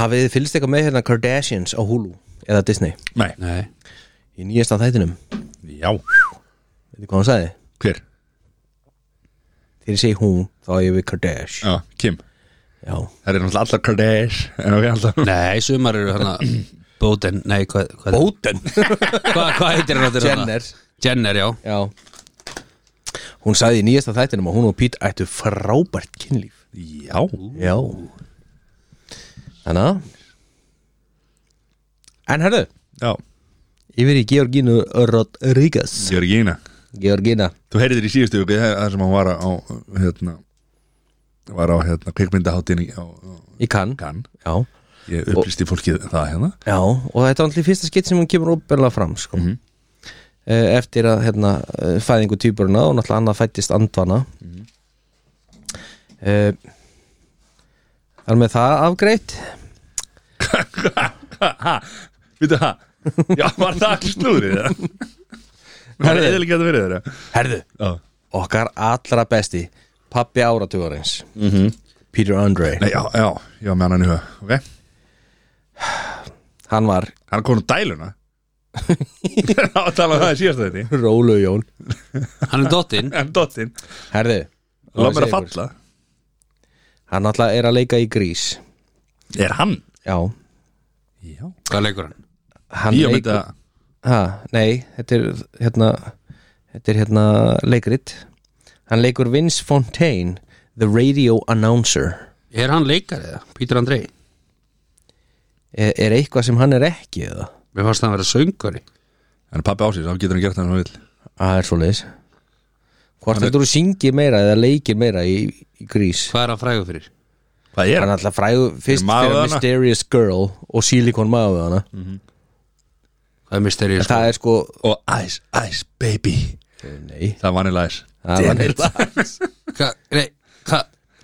B: Hafið þið fylgst eitthvað með hérna Kardashians á Hulu eða Disney
A: Nei,
C: Nei.
B: í nýjasta þættinum
A: já,
B: Veitir hvað hann sagði?
A: hver?
B: Þegar ég segi hún þá er ég við Kardash
A: Já, Kim
B: Já
A: Það er náttúrulega alltaf Kardash En ok, alltaf
C: Nei, sumar eru hana Bóten, nei, hvað hva,
B: Bóten
C: hva, hva heitir hann aftur hana?
B: Jenner
C: Jenner, já
B: Já Hún sagði í nýjasta þættinum að hún og Pete ættu frábært kynlíf
A: Já
B: Já Þannig að En herðu
A: Já,
B: Yfir í Georgínu Rodríguez
A: Jörgína
B: Georgína
A: Þú heyrðir í síðustu viku Það það sem hún var á hérna, Var á hérna, kvikmyndaháttinni á, á
B: Í kann
A: Kann
B: Já
A: Ég upplýsti fólkið það hérna
B: Já, og þetta er alltaf í fyrsta skitt sem hún kemur opinlega fram sko.
A: Mhm.
B: Eh, eftir að hérna, eh, fæðingu týpuruna og náttúrulega annað fættist andvana
A: Mhm.
B: mm Þar með það afgreitt
A: Vittu það? Já, var það ekki slúrið það? Það er eða ekki að það verið þeirra
B: Herðu,
A: Já
B: okkar allra besti pappi áratugarins mm Peter Andre
A: Mhm. Nei, já, já, já, með hann í huga Ok,
B: Hann var
A: hann er konum dæluna Það var að tala um það í síðast þetta
B: Rólu Jón
C: Hann er dottinn
A: En dottin,
B: Herðu,
A: láð mér
B: segir
A: að falla
B: hann alltaf er að leika í grís
A: Er hann?
B: Já,
A: Já
C: Hvað leikur hann?
B: hann
A: Bíómynda
B: ha, Nei, þetta er hérna, þetta er hérna leikrit Hann leikur Vince Fontaine The Radio Announcer
C: Er hann leikar eða? Pítur Andrei
B: Er, er eitthvað sem hann er ekki eða?
C: Mér fannst hann að vera söngari
A: Hann er pappi ásins, þá getur hann gert það sem hann vill
B: Það Ah, er svo leiðis Hvort þetta þú syngir meira eða leikir meira í, í grís
C: Hvað er hann frægur fyrir?
A: Hvað er
B: Hann
A: hann?
B: er alltaf fræðu fyrst
A: Fyrir
B: fyrir
A: maðurana.
B: Mysterious Girl og Silicon Maður hana
C: Hvað er mysterið? Sko?
B: Það er sko
A: Og Ice, Ice Baby
B: Nei
A: Það er Vanilla Ice
B: Það var neitt.
C: Hva, nei, hva,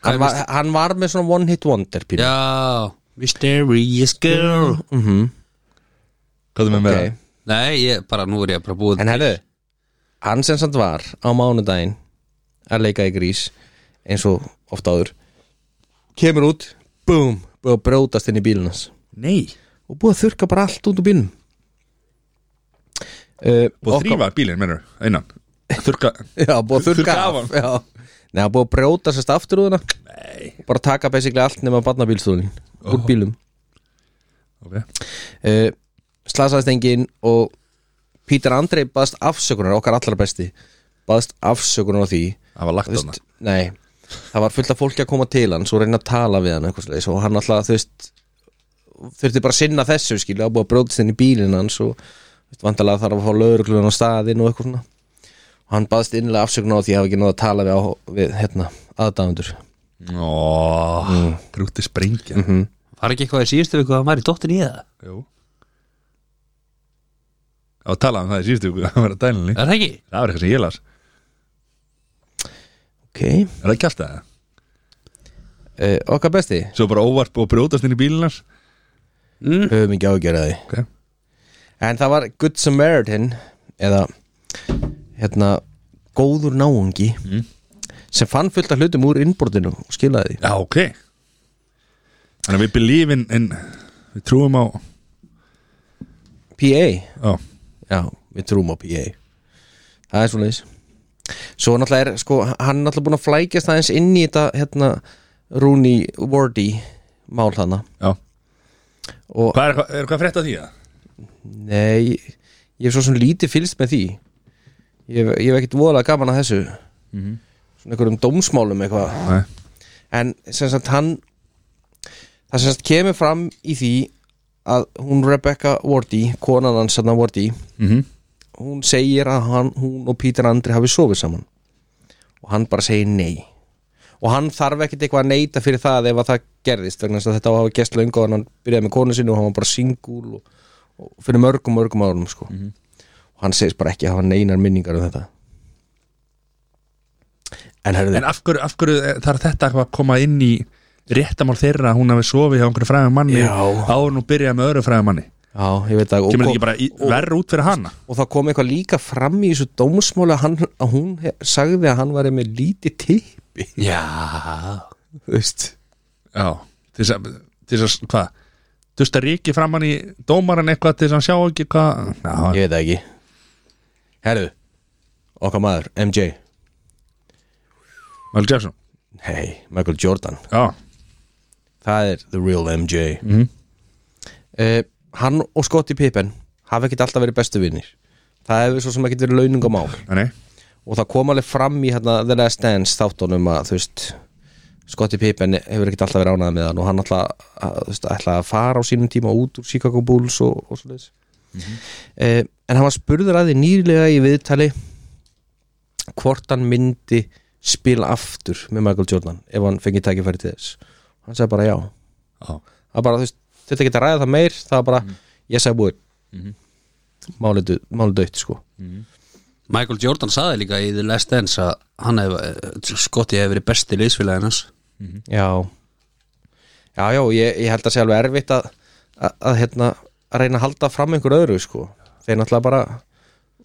B: hann, var, hann var með svona one hit wonder pínu.
C: Já, mysterious girl
A: Hvað er með með
B: Ok.
A: það?
C: Nei, ég, bara nú er ég bara búið
B: En herðu, hann sem samt var á mánudaginn að leika í grís eins og oft áður kemur út, búm og brótast inn í bílunars
A: Nei
B: og búið að þurka bara allt út úr bílunum uh,
A: Búið að þrýfa bílinn, mennur, innan Þurka
B: Já, búið að þurka
A: Þurrka af
B: af já. Nei, hann búið að bróta sérst aftur úr þarna
A: Nei
B: og bara taka basically allt nema barnabílstólin úr bílum
A: Ok
B: uh, slasaðist engin og Pítur Andrei baðst afsökunar okkar allra besti baðst afsökunar á því
A: Það var lagt
B: Þú
A: þarna
B: veist, nei, það var fullt af fólki að koma til hann svo reyna að tala við hann eitthvað slags og hann alltaf, þú veist þurfti bara að sinna þessu skilja að búið að bróðast inn í bílinn hans og þú veist, vandalega þarf að fá lögurglun á staðinn og eitthvað svona og hann baðst innlega afsökunar á því að hafa ekki náða að tala við, á, við hérna, aðdáðundur
A: Ó, grúti sprengja
C: Var ekki eitthvað í síðustu viku að hann var í dottinn í það?
A: Jú Það var að tala um það í síðustu viku, Það var að dælinni
C: Er það ekki?
A: Það var eitthvað sem ég las
B: ok,
A: Er það kjálta það?
B: uh, okkar besti
A: Svo bara óvart og brjótast inn í bílinnars
C: Mm.
B: höfum ekki ágjörði því
A: Ok
B: En það var Good Samaritan eða hérna góður náungi sem fann fullt af hlutum úr innbordinu og skilaði því
A: Já, ok Þannig að við believe in, in Við trúum á
B: PA,
A: Já,
B: já, við trúum á PA Það er svoleiðis Svo náttúrulega er, sko, hann er náttúrulega búin að flækjast aðeins inn í þetta hérna Rooney Wardy mál hana
A: já
B: og
A: Hvað er, er eitthvað frétt að því að?
B: nei, ég hef svo sem lítið fylst með því Ég hef, ég hef ekkert voðalega gaman að þessu Svona einhverjum dómsmálum eitthvað
A: Nei
B: en sem sagt hann það sem sagt kemur fram í því að hún Rebecca Wardy konan hans hann Wardy
A: mm -hmm.
B: hún segir að hann, hún og Peter Andri hafi sofið saman og hann bara segir nei og hann þarf ekkit eitthvað að neita fyrir það ef að það gerðist vegna þess að þetta hafa gest löngu og hann byrjaði með konu sinni og hann var bara singul og, og fyrir mörgum mörgum árum sko.
A: Mhm.
B: og hann segist bara ekki að hafa neinar minningar um þetta en herðu
A: En af hverju, af hverju eh, þarf þetta eitthvað að koma inn í réttamál þeirra að hún hafi sofið hjá einhverju fræðum manni
B: Já.
A: áður nú byrjaði með öðru fræðum manni
B: Já, ég veit það og,
A: Kemur þetta
B: kom-
A: ekki bara í, verra út fyrir hana
B: og það kom eitthvað líka fram í þessu dómsmáli að, hann, að hún he, sagði að hann var með lítið tippi
C: Já
B: Þú veist
A: Já, til þess að, til þess að, hvað Dusta ríki framann í dómaran eitthvað til þess að hann sjá ekki hvað Já,
B: Ég veit það ekki Herðu, okkar maður, MJ
A: Michael Jackson
B: Hey, Michael Jordan
A: Já,
B: Það er the real MJ
A: Mhm.
B: mm. Eh, Hann og Scottie Pippen hafa ekkert alltaf verið bestu vinnir Það hefur svo sem ekkert verið launungamál
A: nei,
B: og það kom alveg fram í hérna, The Last Dance þáttunum að þú veist Scottie Pippen hefur ekkert alltaf verið ánægð með hann og hann alltaf, að, þú veist, alltaf að fara á sínum tíma út úr Chicago Bulls og, og svo leis en hann var spurður að því nýrlega í viðtali hvort hann myndi spila aftur með Michael Jordan ef hann fengið tækifæri til þess hann sagði bara já
A: já
B: það er bara, þú veist, þetta geta ræða það meir það er bara, ég sagði búið mm. málið dött, sko
C: Michael Jordan saði líka í The Last Dance að hann hef, Skotti hefur verið besti liðsfélagin hans
A: Mhm.
B: Já Já, já, ég, ég held að sé alveg erfitt að, að, að, hérna, að reyna að halda fram einhver öðru sko. þeir náttúrulega bara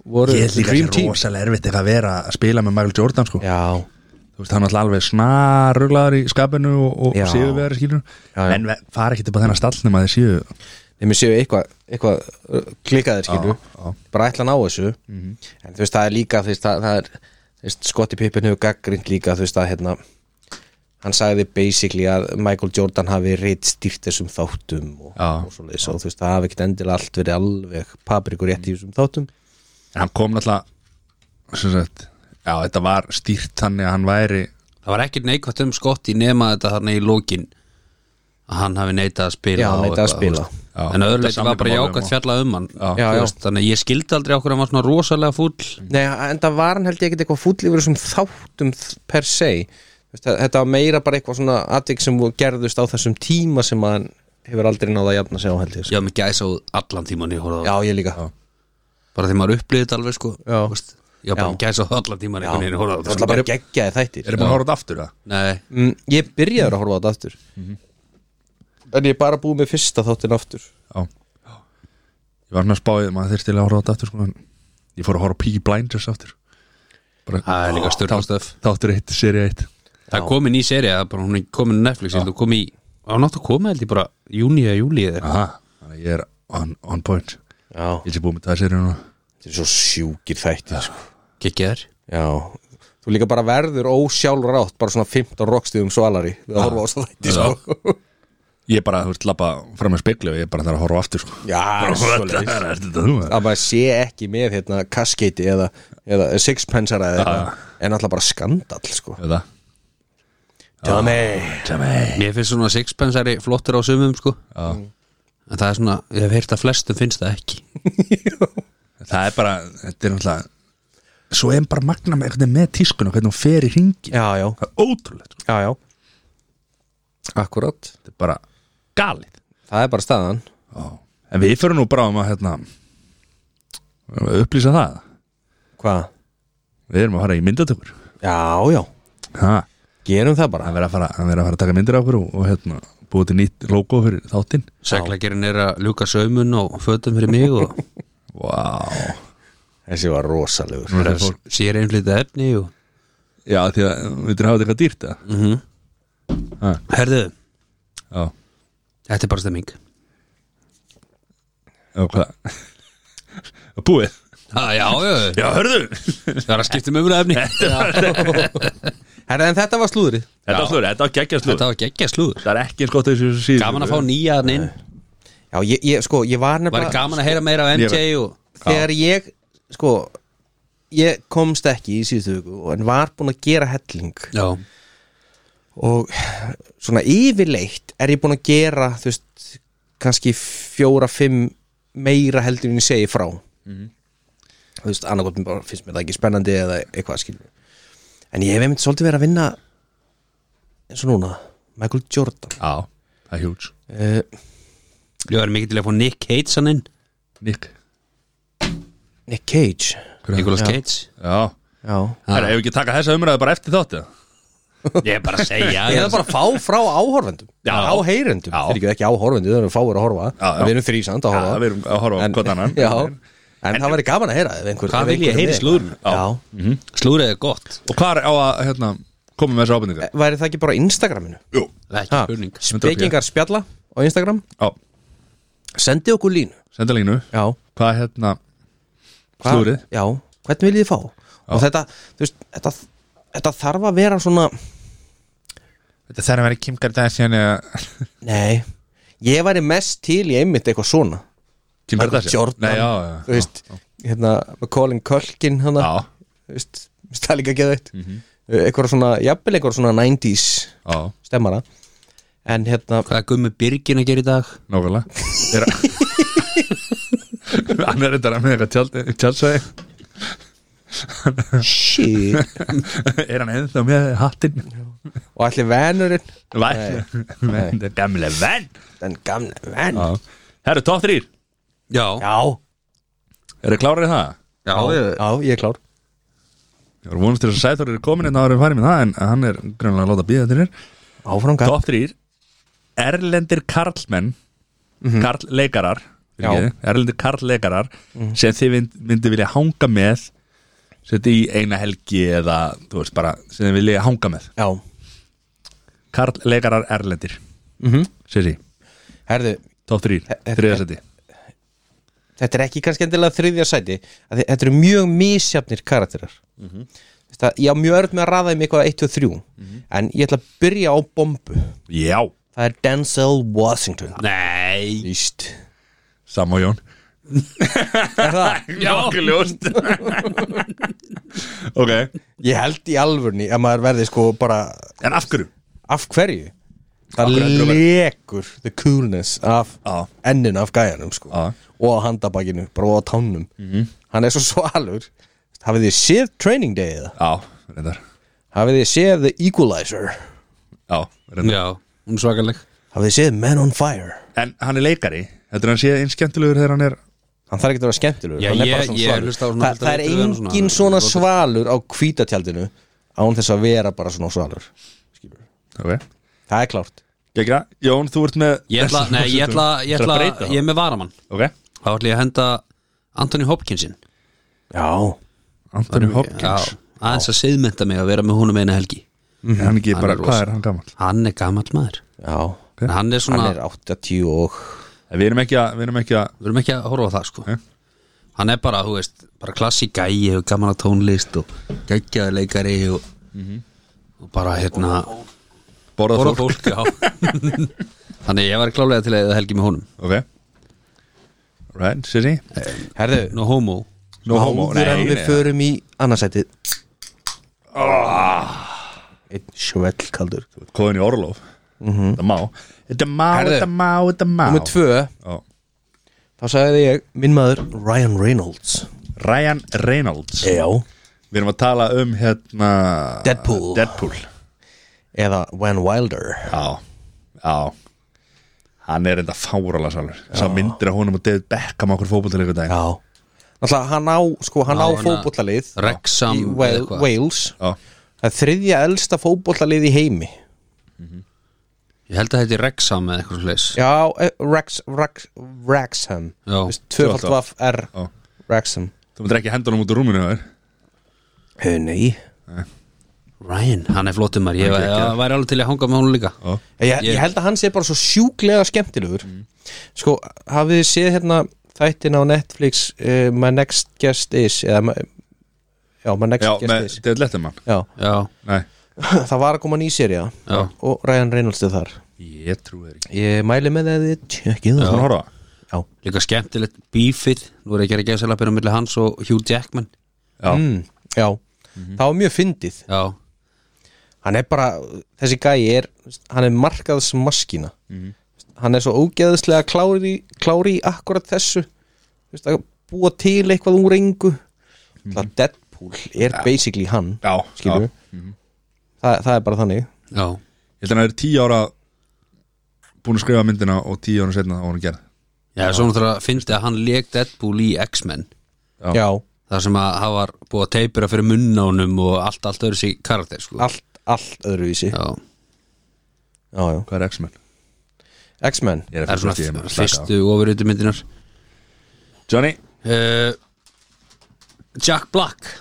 B: voru
A: Ég er líka
B: dream
A: ekki rosalega erfitt eitthvað að vera að spila með Michael Jordan sko.
B: Já,
A: Þú veist, hann er alltaf alveg snaruglaður í skapinu og, og
B: Já.
A: séu við þeirra skilur
B: Já, já.
A: En ve- fara ekki til bara þennan stall nema þeir séu
B: þeim séu eitthvað, eitthvað uh, klikkaðir skilu
A: já. Mhm.
B: bara ætla að ná þessu en þú veist, það er líka þú veist, það, það er, þú veist, Scottie Pippen hefur gaggrind líka þú veist að hérna hann sagði basically að Michael Jordan hafi reitt stýrt þessum þáttum og,
A: Já.
B: og, svoleiðis, og þú veist, það hafi ekkert endilega allt verið alveg paprikur
A: Mhm.
B: rétt í þessum þáttum
A: En hann kom náttúrulega sem sagt, Já, þetta var stýrt þannig að hann væri
C: Það var ekkert neikvætt um Skotti nema þetta þarna í lókin að hann hafi neitað að spila
B: Já,
C: og
B: neitað að
C: eitthvað,
B: spila.
C: þú veist.
A: Já,
C: En
A: þetta
C: öðruleiti var bara
A: samningamálum
C: jákvæmt
A: og-
C: fjallað um hann
A: Já.
C: Já,
B: Já, já.
C: Veist, Þannig að ég skildi aldrei okkur hann var svona rosalega fúll
B: Nei, enda var hann held ég ekkert eitthvað fúll yfir þessum þáttum þ- per se Þú veist, þa- þetta var meira bara eitthvað svona atvik sem voru- gerðust á þessum tíma sem hann hefur aldrei náða að jafna sig á held ég sko.
C: Já, mér gæsa á allan tíman ég horfði á
B: Já, ég líka Já,
C: bara þegar maður upplýði þetta alveg sko
B: Já.
C: Þú veist, Já, bara
B: Já.
C: mér gæsa á allan tíman einhvern veginn ég horfði á
B: það var
C: þetta sko.
B: bara geggjaði þættir
A: Er það búin að horfa á þetta aftur það?
C: Nei,
B: mm, Ég byrjaður að horfa á þetta aftur En ég er bara búið með fyrsta þáttin aftur
A: Já Ég var hann að spáið, maður þyrst til að horfa á þetta aftur sko, en Ég fór að horfa á Peaky Blinders aftur Bara,
C: það er líka störn
A: Þátt- Þáttur 1, seri 1
C: Það er komin í seri að bara hún er komin á Netflix Það kom í, hann átti að koma held ég bara júni eða júli eða eitthvað.
A: Aha, þannig að ég er on, on point
B: Já,
A: Ég sé búið með það serið núna
B: þetta er svo sjúkir þættir sko.
C: Geggjaður
B: Já, þú líka bara verður ósjálfrátt bara svona 15 rockstuðum svalari við að horfa á þessa þætti sko.
A: Ég er bara, þú veist, labba fram með spekli og ég er bara þar að horfa á aftur sko.
B: Já, svoleiðis.
A: Þetta er þetta þú maður.
B: að maður sé ekki með hérna, kaskeiti eða, eða sixpensara eða, en alltaf bara skandall sko.
A: Eða,
B: Tommy
A: Jamey.
C: Mér finnst svona sixpensari flottur á sumum sko
A: Já.
C: En það er svona, ég hef heyrt að flestum finnst það ekki
A: Það er bara, þetta er náttúrulega Svo er bara magna með, einhvern veginn með tískun og hvernig hún fer í ringi
B: já, já,
A: Það er ótrúlegt, sko.
B: já, já Akkurat
A: þetta er bara galið
B: Það er bara staðan
A: Já. En við fyrir nú bráðum að hérna, við erum að upplýsa það
B: Hvað?
A: Við erum að fara í myndatökur
B: Já, já,
A: ha,
B: gerum það bara
A: Hann verður að, fara- hann verður að fara að taka myndir af okkur og, og hérna, búið til nýtt logo fyrir þáttinn
C: Seglagerinn er að ljúka saumun og fötum fyrir mig og
A: Vá
B: Þessi var rosalegur
A: Nú Mm. er það fólk
C: sér einflýta efni og
A: Já, því að við þurfum að hafa þetta eitthvað dýrt eða?
C: Herðu,
A: Já,
C: þetta er bara stemming
A: já, hvað Búið
C: ah, Já, já,
A: Já, hörðu
C: það er að skipta um umræða efni
B: Herra, en þetta var slúðrið
A: Þetta var slúður, þetta var geggja slúður
C: Þetta var geggja slúður
A: Það er ekki eins gott að þessu síður
C: Gaman að fá nýjan inn
B: Já, ég, ég, sko, ég var
C: Var
B: nefnilega
C: gaman að heyra meira af MJ og
B: Þegar ég, sko Ég komst ekki í síðustu viku En var búin að gera helling
C: Já,
B: og svona yfirleitt er ég búin að gera þú veist, kannski fjóra, fimm meira heldur en ég segi frá
A: Mhm.
B: þú veist, annarkotum bara finnst mér það ekki spennandi eða eitthvað skilur en ég hef einmitt svolítið verið að vinna eins og núna Michael Jordan
A: Já, það er hjúts
B: uh,
C: ég var mikið til að fá Nick Cage hann inn
A: Nick
B: Nick Cage
C: Nicolas Cage
A: Já
B: já,
A: Það er ef við ekki taka þessa umræðu bara eftir þáttu
C: Ég er bara að segja
B: Ég er bara að fá frá áhorfendum
A: Já.
B: Á heyrendum,
A: Já.
B: þeir eru ekki áhorfendur Það eru fáir að horfa,
A: Já, já.
B: við erum þrý samt að horfa
A: Já, við erum að horfa á
B: En-
A: hvort annan.
B: Já, en, það væri gaman að heyra ef einhver,
C: Hvað
B: ef
C: vil ég
B: einhver er
C: heyra í
B: með.
C: slúðrinu?
B: Já,
C: Slúrið er gott
A: Og hvað er á að hérna, koma með þessu ábendingar?
B: væri það ekki bara á Instagraminu?
A: Jú,
C: Það er ekki
B: Ha,
C: spurning
B: Spekingar spjalla á Instagram
A: á,
B: Sendi okkur línu
A: senda línu
B: Já,
A: Hvað er hérna
B: hva-
A: Slúðrið.
B: Já, hvernig viljið þið fá? Og þetta, þú veist, þetta, þetta þarf að vera svona
A: Þetta þarf að vera Kim Kardashian eða
B: Nei, ég væri mest til í einmitt eitthvað svona
A: Kim
B: Michael
A: Kardashian
B: Jordan,
A: Nei, já,
B: þú
A: já,
B: veist, hérna, Colin Culkin hana,
A: já,
B: þú veist, það er líka geða eitt mm -hmm. eitthvað svona, jafnvel eitthvað svona 90s
A: já,
B: stemmara en hérna,
C: Hvað er Gummi Birgin að gera í dag?
A: nákvæmlega Er Hann er þetta með eitthvað tjald, tjaldsvæði
B: shit
A: Er hann ennþá með hattinn?
B: og allir venurinn,
A: Venn, gamle venn
B: den gamla venn
A: Já. Herru, top 3
C: Já
B: já,
A: Er þið klárið það?
C: Já,
B: já, ég er klár
A: Ég var vonast til þess að Sæþór er komin en það erum farið með það en hann er greinlega að láta býða til þér
B: áfram gaf,
A: Top 3 Erlendir karlmenn Mhm. Karlleikarar fyrirgefðu, Erlendir karlleikarar sem þið mynd- myndi vilja hanga með setja í eina helgi eða þú veist bara sem þið vilja hanga með
B: já
A: Karlleikarar erlendir
B: mm
A: Mhm. Sissi,
B: herðu,
A: top 3
B: e-
A: Þriðasetti
B: þetta er ekki kannski endilega þriðja sæti að þi- þetta eru mjög misjafnir karakterar mm -hmm. ég á mjög örð með að raða um eitthvað 1 og 3 en ég ætla að byrja á bombu
A: Já,
B: það er Denzel Washington
C: Nei
B: Íst
A: Sam og Jón
B: Er það?
A: Nokkuð ljóst Ok,
B: Ég held í alvörni að maður verði sko bara
A: en af hverju?
B: af hverju Það
A: Af hverju heldur þú
B: lekur the coolness af
A: Já.
B: ennin af gæjanum sko
A: Já. Mhm.
B: og á handabakinu, bara og á tánum -hmm. Hann er svo svalur Hafið þið séð Training Day eða?
A: Já, reyndar
B: Hafið þið séð The Equalizer?
A: Já, reyndar
C: Já, hún er svakaleg
B: Hafið þið séð Men on Fire?
A: En hann er leikari Þetta er hann sé eins skemmtilegur þegar hann er
B: Hann þarf ekki að vera skemmtilegur
C: Já,
B: hann er bara
C: ég-
B: svona
C: ég
B: svalur.
C: hlusta á svona
B: Þa, Það er
C: heldur viðtöl og svona.
B: engin svona svalur á hvítatjaldinu án þess að vera bara svona svalur Skilur.
A: Ok
B: Það er klárt
A: Gekka, Jón, þú ert með
C: Ég ætla, nei, ég ætla, ég ætla,
A: Ætlarðu að breyta
C: ég er með varamann
A: það? Ok,
C: Þá ætla ég að henda Anthony Hopkinsin
B: Já
A: Anthony Hopkins
C: Aðeins að siðmynda mig að vera með honum eina helgi
A: Er Hann ekki
C: Hann
A: bara,
C: er
A: hvað
C: rosa.
A: er hann gammal?
C: Hann er gamall maður
B: Já,
C: En Hann er svona,
B: hann er 80 og
A: Við erum ekki að, við erum ekki að
C: við erum ekki að horfa á það sko
A: Nei.
C: Hann er bara, þú veist, bara klassíkæi og gaman að tónlist og geggjaðleikari og, Mhm. og bara hérna
A: borða
C: Borða
A: fólk
C: fólk, já Þannig ég var klálega til að eða helgi með honum
A: Ok Right, Sissi
B: Herðu,
C: No Eh, homo
A: No homo
B: áður en við förum í annarsætið Einn svell kaldur
A: Kóðin í Orlof
C: Mhm.
A: Þetta má Þetta má,
B: Herðu.
A: þetta má, þetta má
B: Númer tvö,
A: Ó,
B: þá sagði ég minn maður Ryan Reynolds
A: Ryan Reynolds
B: Já
A: Við erum að tala um hérna
B: Deadpool.
A: Deadpool
B: Eða Van Wilder
A: Já, já Hann er enda fárala salur Sá myndir að honum og David Beckham okkur fótbollalegur dag
B: Já Náttúrulega hann á, sko, hann
C: Já,
B: á
C: hann að-
B: fótbollalið
C: Wrexham
B: í Wa-
C: eitthvað.
B: Wales
A: Já,
B: Það er þriðja elsta fótbollalið í heimi
C: Ég held að þetta er Rexham eða eitthvað slags
B: Já, eh, Rex, Rex, Wrexham
C: Já.
B: Tvöfald vaf R
A: já
B: Wrexham
A: Þú myndir ekki hendunum út úr rúminu þar
B: Hei, nei
C: Ryan, hann er flottum maður Ég ég væri alveg til að hanga með honum líka
A: Já,
B: ég, ég held að hann sé bara svo sjúklega skemmtilegur sko, hafið þið séð hérna þættin á Netflix uh, My Next Guest Is eða, my- já, My Next
A: já
B: Guest
A: með
B: Is
A: David Letterman
B: já,
C: Já,
A: Nei,
B: það var að koma ný serið
C: Já.
B: og Ryan Reynolds er þar
A: ég trúi þér ekki
B: ég mæli með það að þið tjekkið
A: Þú
B: það
A: er að horfa á það?
B: já,
C: líka skemmtilegt bífið Nú er ekki að gera sérlega byrja milli hans og Hugh Jackman
A: Já. Mhm.
B: mm, já. það var mjög fyndið
C: Já,
B: hann er bara, þessi gæi er hann er markaðsmaskina
A: Mhm.
B: hann er svo ógeðslega klári, klári í akkurat þessu Þú veist, að búa til eitthvað úr engu það Deadpool er basically hann
A: Já, Mhm.
B: skilur
A: já. Mhm.
B: við Þa, það er bara þannig
C: já,
A: Ég held að hann er tíu ára búin að skrifa myndina og tíu ára setna á hann gerð
C: já svona þar að finnst þið að hann leik Deadpool í X-Men
A: Já.
B: já,
C: þar sem að hann var búið að teipura fyrir munn á honum og allt, allt öðru sig karakter sko.
B: allt, allt öðruvísi
C: Já,
B: já, já.
A: Hvað er X-Men?
B: X-Men
A: Ég
C: það er
A: fyrst í þeim
C: svona
A: að slaka á.
C: fyrstu ofurötu myndinar
A: Johnny
C: uh, Jack Black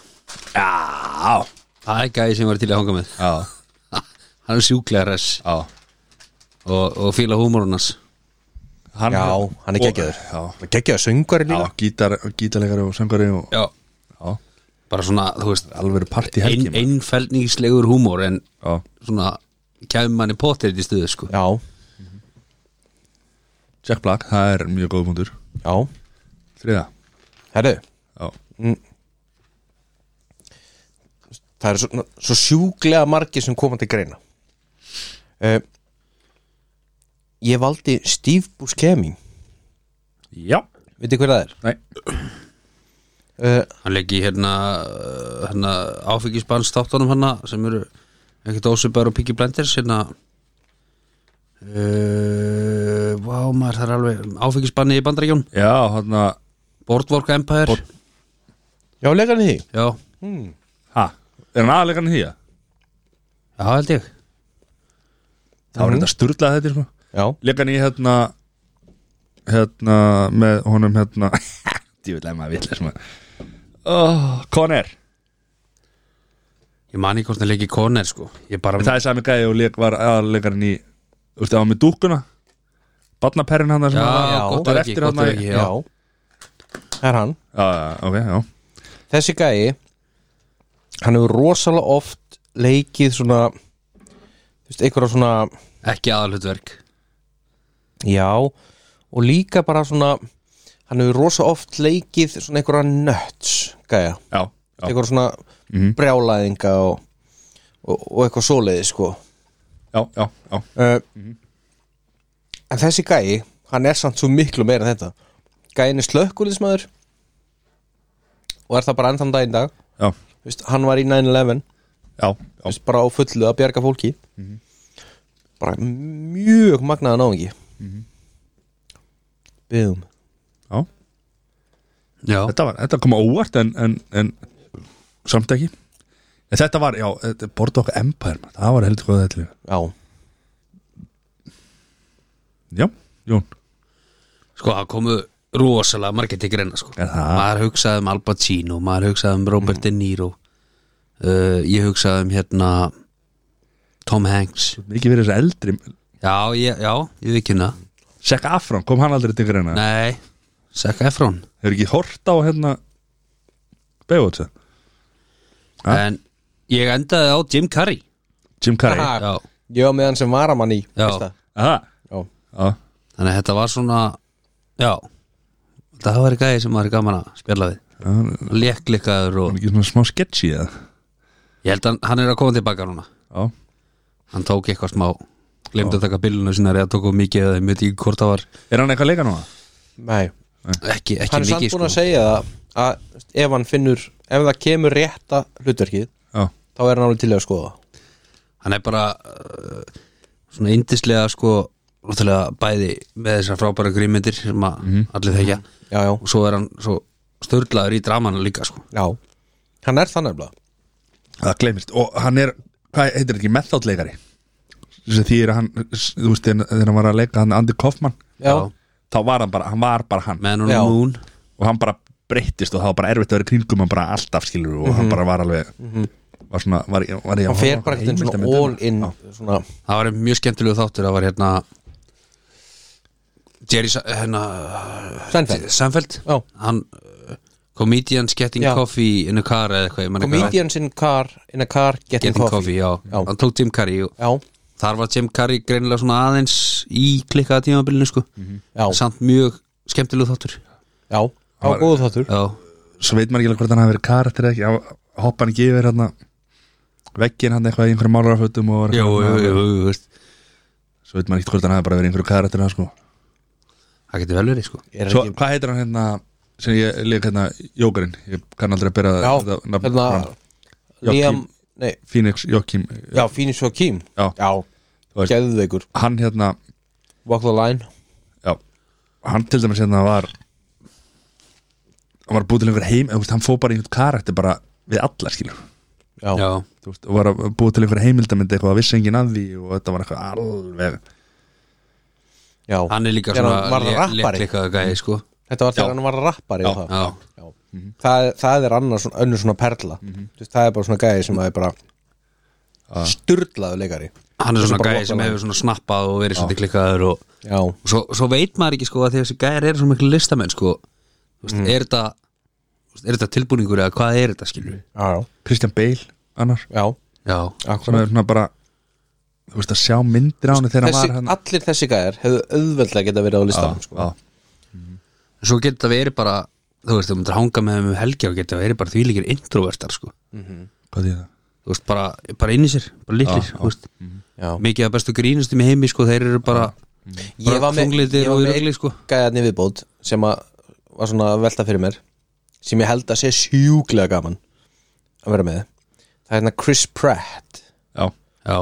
A: Já
C: Það er gæði sem var til að hanga með
A: Já,
C: Hann er sjúklega res
A: já
C: og, og fíla húmórunas
A: hann,
B: Já, hann er
A: og-
B: geggjaður.
A: Já,
B: geggjaða söngari
A: já
B: líka
A: gítar, gítarleikari og söngari og
C: Já
A: Já,
C: Bara svona, þú veist
A: alveg partí helgi
C: ein,
A: maður.
C: Einfeldningslegur húmór en
A: Já,
C: svona kæmi manni potið í stuðu sko
B: já,
A: Jack Black, það er mjög góð punktur
B: já,
A: Þriða
B: herru
A: Já,
B: það er svo, svo sjúklega margir sem koma til greina uh, ég valdi Steve Buscemi
A: já.
B: veitir hver það er?
A: Nei,
B: Uh,
C: Hann leggi hérna, hérna áfengisbans þáttunum hana sem eru ekkert ósöpar og píki blenders hérna Uh, vá maður það er alveg áfengisbanni í bandaríkjón
A: já, hérna, hann að
C: Boardwalk Empire
A: Board-
B: já, leikar því
C: Já,
A: Ha, er hann aðleikarinn í það?
C: já held ég
A: Það var þetta sturlað þetta sko
B: já,
A: Leikarinn í hérna Hérna, með honum hérna Djúvilega maður villis maður oh, Conner
C: Ég mani hvort hann leiki koner sko Ég bara
A: Það er sami gæði og leik var aðleikarinn í Þú veist, það var með dúkuna Barnaperrin hann
C: Já,
B: Já,
C: gott
A: var
C: er
A: eftir
C: ekki, gott
A: þarna
C: er
A: í-
C: ekki
B: já,
C: já.
B: það er hann
A: Já, já, ok, já
B: þessi gæi hann hefur rosalega oft leikið svona þú veist, einhverja svona
C: Ekki aðalhutverk
B: já, og líka bara svona hann hefur rosalega oft leikið svona einhverja nuts gæja,
A: Já, já, Mhm.
B: einhverja svona brjálæðinga og, og, og eitthvað svoleiði sko
A: já, já, já.
B: uh, en þessi gæi hann er samt svo miklu meira en þetta gæin er slökkulismæður og er það bara ennþann dag í dag
A: já,
B: Þú veist, hann var í
A: já,
B: 9-11
A: Mhm.
B: Þú
A: já.
B: veist, bara á fullu að bjarga fólki bara mjög magnaðan áhengi mm
A: Mhm.
B: byggum
A: já.
C: Já,
A: Þetta, var, þetta kom á óvart en, en, en samt ekki en þetta var, já, þetta- Boardwalk Empire maður, það var heldur góð þetta líka
B: já,
A: já, Jón,
C: sko það komu rosalega margir til greina sko
A: Er það?
C: Maður hugsaði um Al Pacino, maður hugsaði um Robert De Niro uh, Ég hugsaði um hérna Tom Hanks
A: mikið verið þessi eldri
C: Já, ég, já, ég veit kynna
A: Zac Afron, kom hann aldrei til greina
C: Nei, Zac Efron
A: hefur ekki hort á hérna Baywatch eða? Ha?
C: En ég endaði á Jim Carrey
A: Jim Carrey
B: Aha.
C: Já,
B: ég var með hann sem varamann í
C: Já.
B: veist það?
A: Aha.
B: já.
A: Já.
C: þannig að þetta var svona Já, það var gæði sem maður er gaman að spjalla við
A: Já, hann
C: Léklikkaður og
A: er ekki svona smá sketchy eða
C: Ég held að hann er að koma tilbaka núna
A: já,
C: Hann tók eitthvað smá Glemdi að taka bíluna sinna Eða tók of mikið eða ég veit ekki hvort það var
A: er hann eitthvað að leika núna?
B: Nei,
C: Ekki, ekki
B: hann er samt
C: mikið
B: búin
C: sko
B: að segja það að þú veist, ef hann finnur ef það kemur rétta hlutverkið
A: já,
B: þá er hann alveg til í að skoða það.
C: Hann er bara uh, Svona indislega sko Náttúrulega bæði með þessar frábæra grímyndir Sem að
B: Mhm.
C: allir þekja
B: já, já,
C: Og svo er hann svo störlaður í dramanu líka sko
B: já hann er þannig að
A: það gleymist og hann er, hvað heitir þetta ekki, method leikari því er hann, þú veist þegar þegar hann var að leika hann Andy Kaufman
B: já,
A: þá var hann bara, hann var bara hann
C: Með hann
B: Já.
C: og hún
A: og hann bara breyttist og það var bara erfitt að vera í kringum hann bara alltaf skilur og hann bara var alveg var svona, var, var, var
B: Mhm. hann fer bara eitthvað svona all in svona,
C: Það var mjög skemmtilegu þáttur Það var hérna Jerry Sa- hérna,
B: Seinfeld.
C: Seinfeld
B: já,
C: Hann uh, Comedians getting
B: Já.
C: coffee in a car eða eitthvað ég man ekki hvað-
B: comedians in car in a car getting,
C: Getting
B: coffee.
C: Coffee, Um já.
B: Já.
C: hann tók Jim Carrey og
B: já,
C: þar var Jim Carrey greinilega svona aðeins í klikkaða tímabilinu sko
B: Já.
C: samt mjög skemmtilegu þáttur
B: já, á
A: Hann var-
B: góðu þáttur
C: já,
A: svo veit maður ekki alveg hvort hann hafi verið karakter eða ekki Já, hoppa hann ekki yfir hann veggin hann eitthvað í einhverjum málarafötum og var
C: já, já, já, já veist.
A: svo veit maður ekki hvort hann hafi bara verið í einhverju karakter eða, sko.
C: það getur vel verið sko
B: Er
A: svo
B: ekki-
A: hvað heitir hann hérna sem ég leik hérna Jókarinn ég kann aldrei að bera
B: já,
A: þetta nafn
B: hérna
A: fram.
B: Liam,
A: Joachim.
B: nei,
A: Phoenix Jókim
B: já, Phoenix Joachim
A: Já. Þú
B: já
A: veist.
B: geðveikur,
A: hann hérna
B: Walk the Line
A: Já, hann til dæmis hérna var hann var búið til einhver heim eða, þú veist, hann fóð bara í einhvern karakter bara við alla skilur
B: Já,
C: já,
A: þú veist, og var að búa til einhver heimildamindi eitthvað að vissi enginn að því og þetta var eitthvað alveg
B: já.
C: hann er líka
B: Þegar hann
C: svona
B: varð rappari.
C: leiklikkaða gæði sko
B: Þetta var þegar hann var rappari
A: Já,
B: og það.
C: já,
B: Já. Það, það er annars svona, önnur svona perla
C: Mhm.
B: Þú veist, Það er bara svona gæði sem að er bara Sturlaðu leikari
C: hann er
B: Þessu
C: svona
B: bara
C: gæði sem
B: lokalaði.
C: hefur svona snappað og verið svolítið klikkaður og
B: Já,
C: svo, svo veit maður ekki sko að þessi gæðar eru svona miklu listamenn sko Þú veist, er þetta þú veist, er þetta tilbúningur eða hvað er þetta skilur
B: já, já,
A: Kristján Bale annar
B: já.
C: já,
A: sem
B: akkurat
A: er svona bara þú veist að sjá myndir á henni þegar hann
B: þessi,
A: var
C: hérna-
A: hérna. hann
B: Allir þessi gæðar hefðu auðveldlega geta verið á listanum sko.
C: svo getur þetta verið bara þú veist, þú myndir hanga með þeim um helgi og getur þetta verið bara þvílíkir introvertar sko
A: hvað því það?
C: þú veist, bara, bara inn í sér, bara líklir þú veist,
B: Já.
C: mikið af bestu grínustum í heimi sko, þeir eru bara,
B: Mhm. Ég
C: bara
B: var með,
C: þunglitir
B: ég
C: og
B: var
C: í
B: með
C: rugli sko
B: gæðarni viðbót sem að var svona að velta fyrir mér sem ég held að sé sjúklega gaman að vera með Það er hérna Chris Pratt
A: Já,
C: já,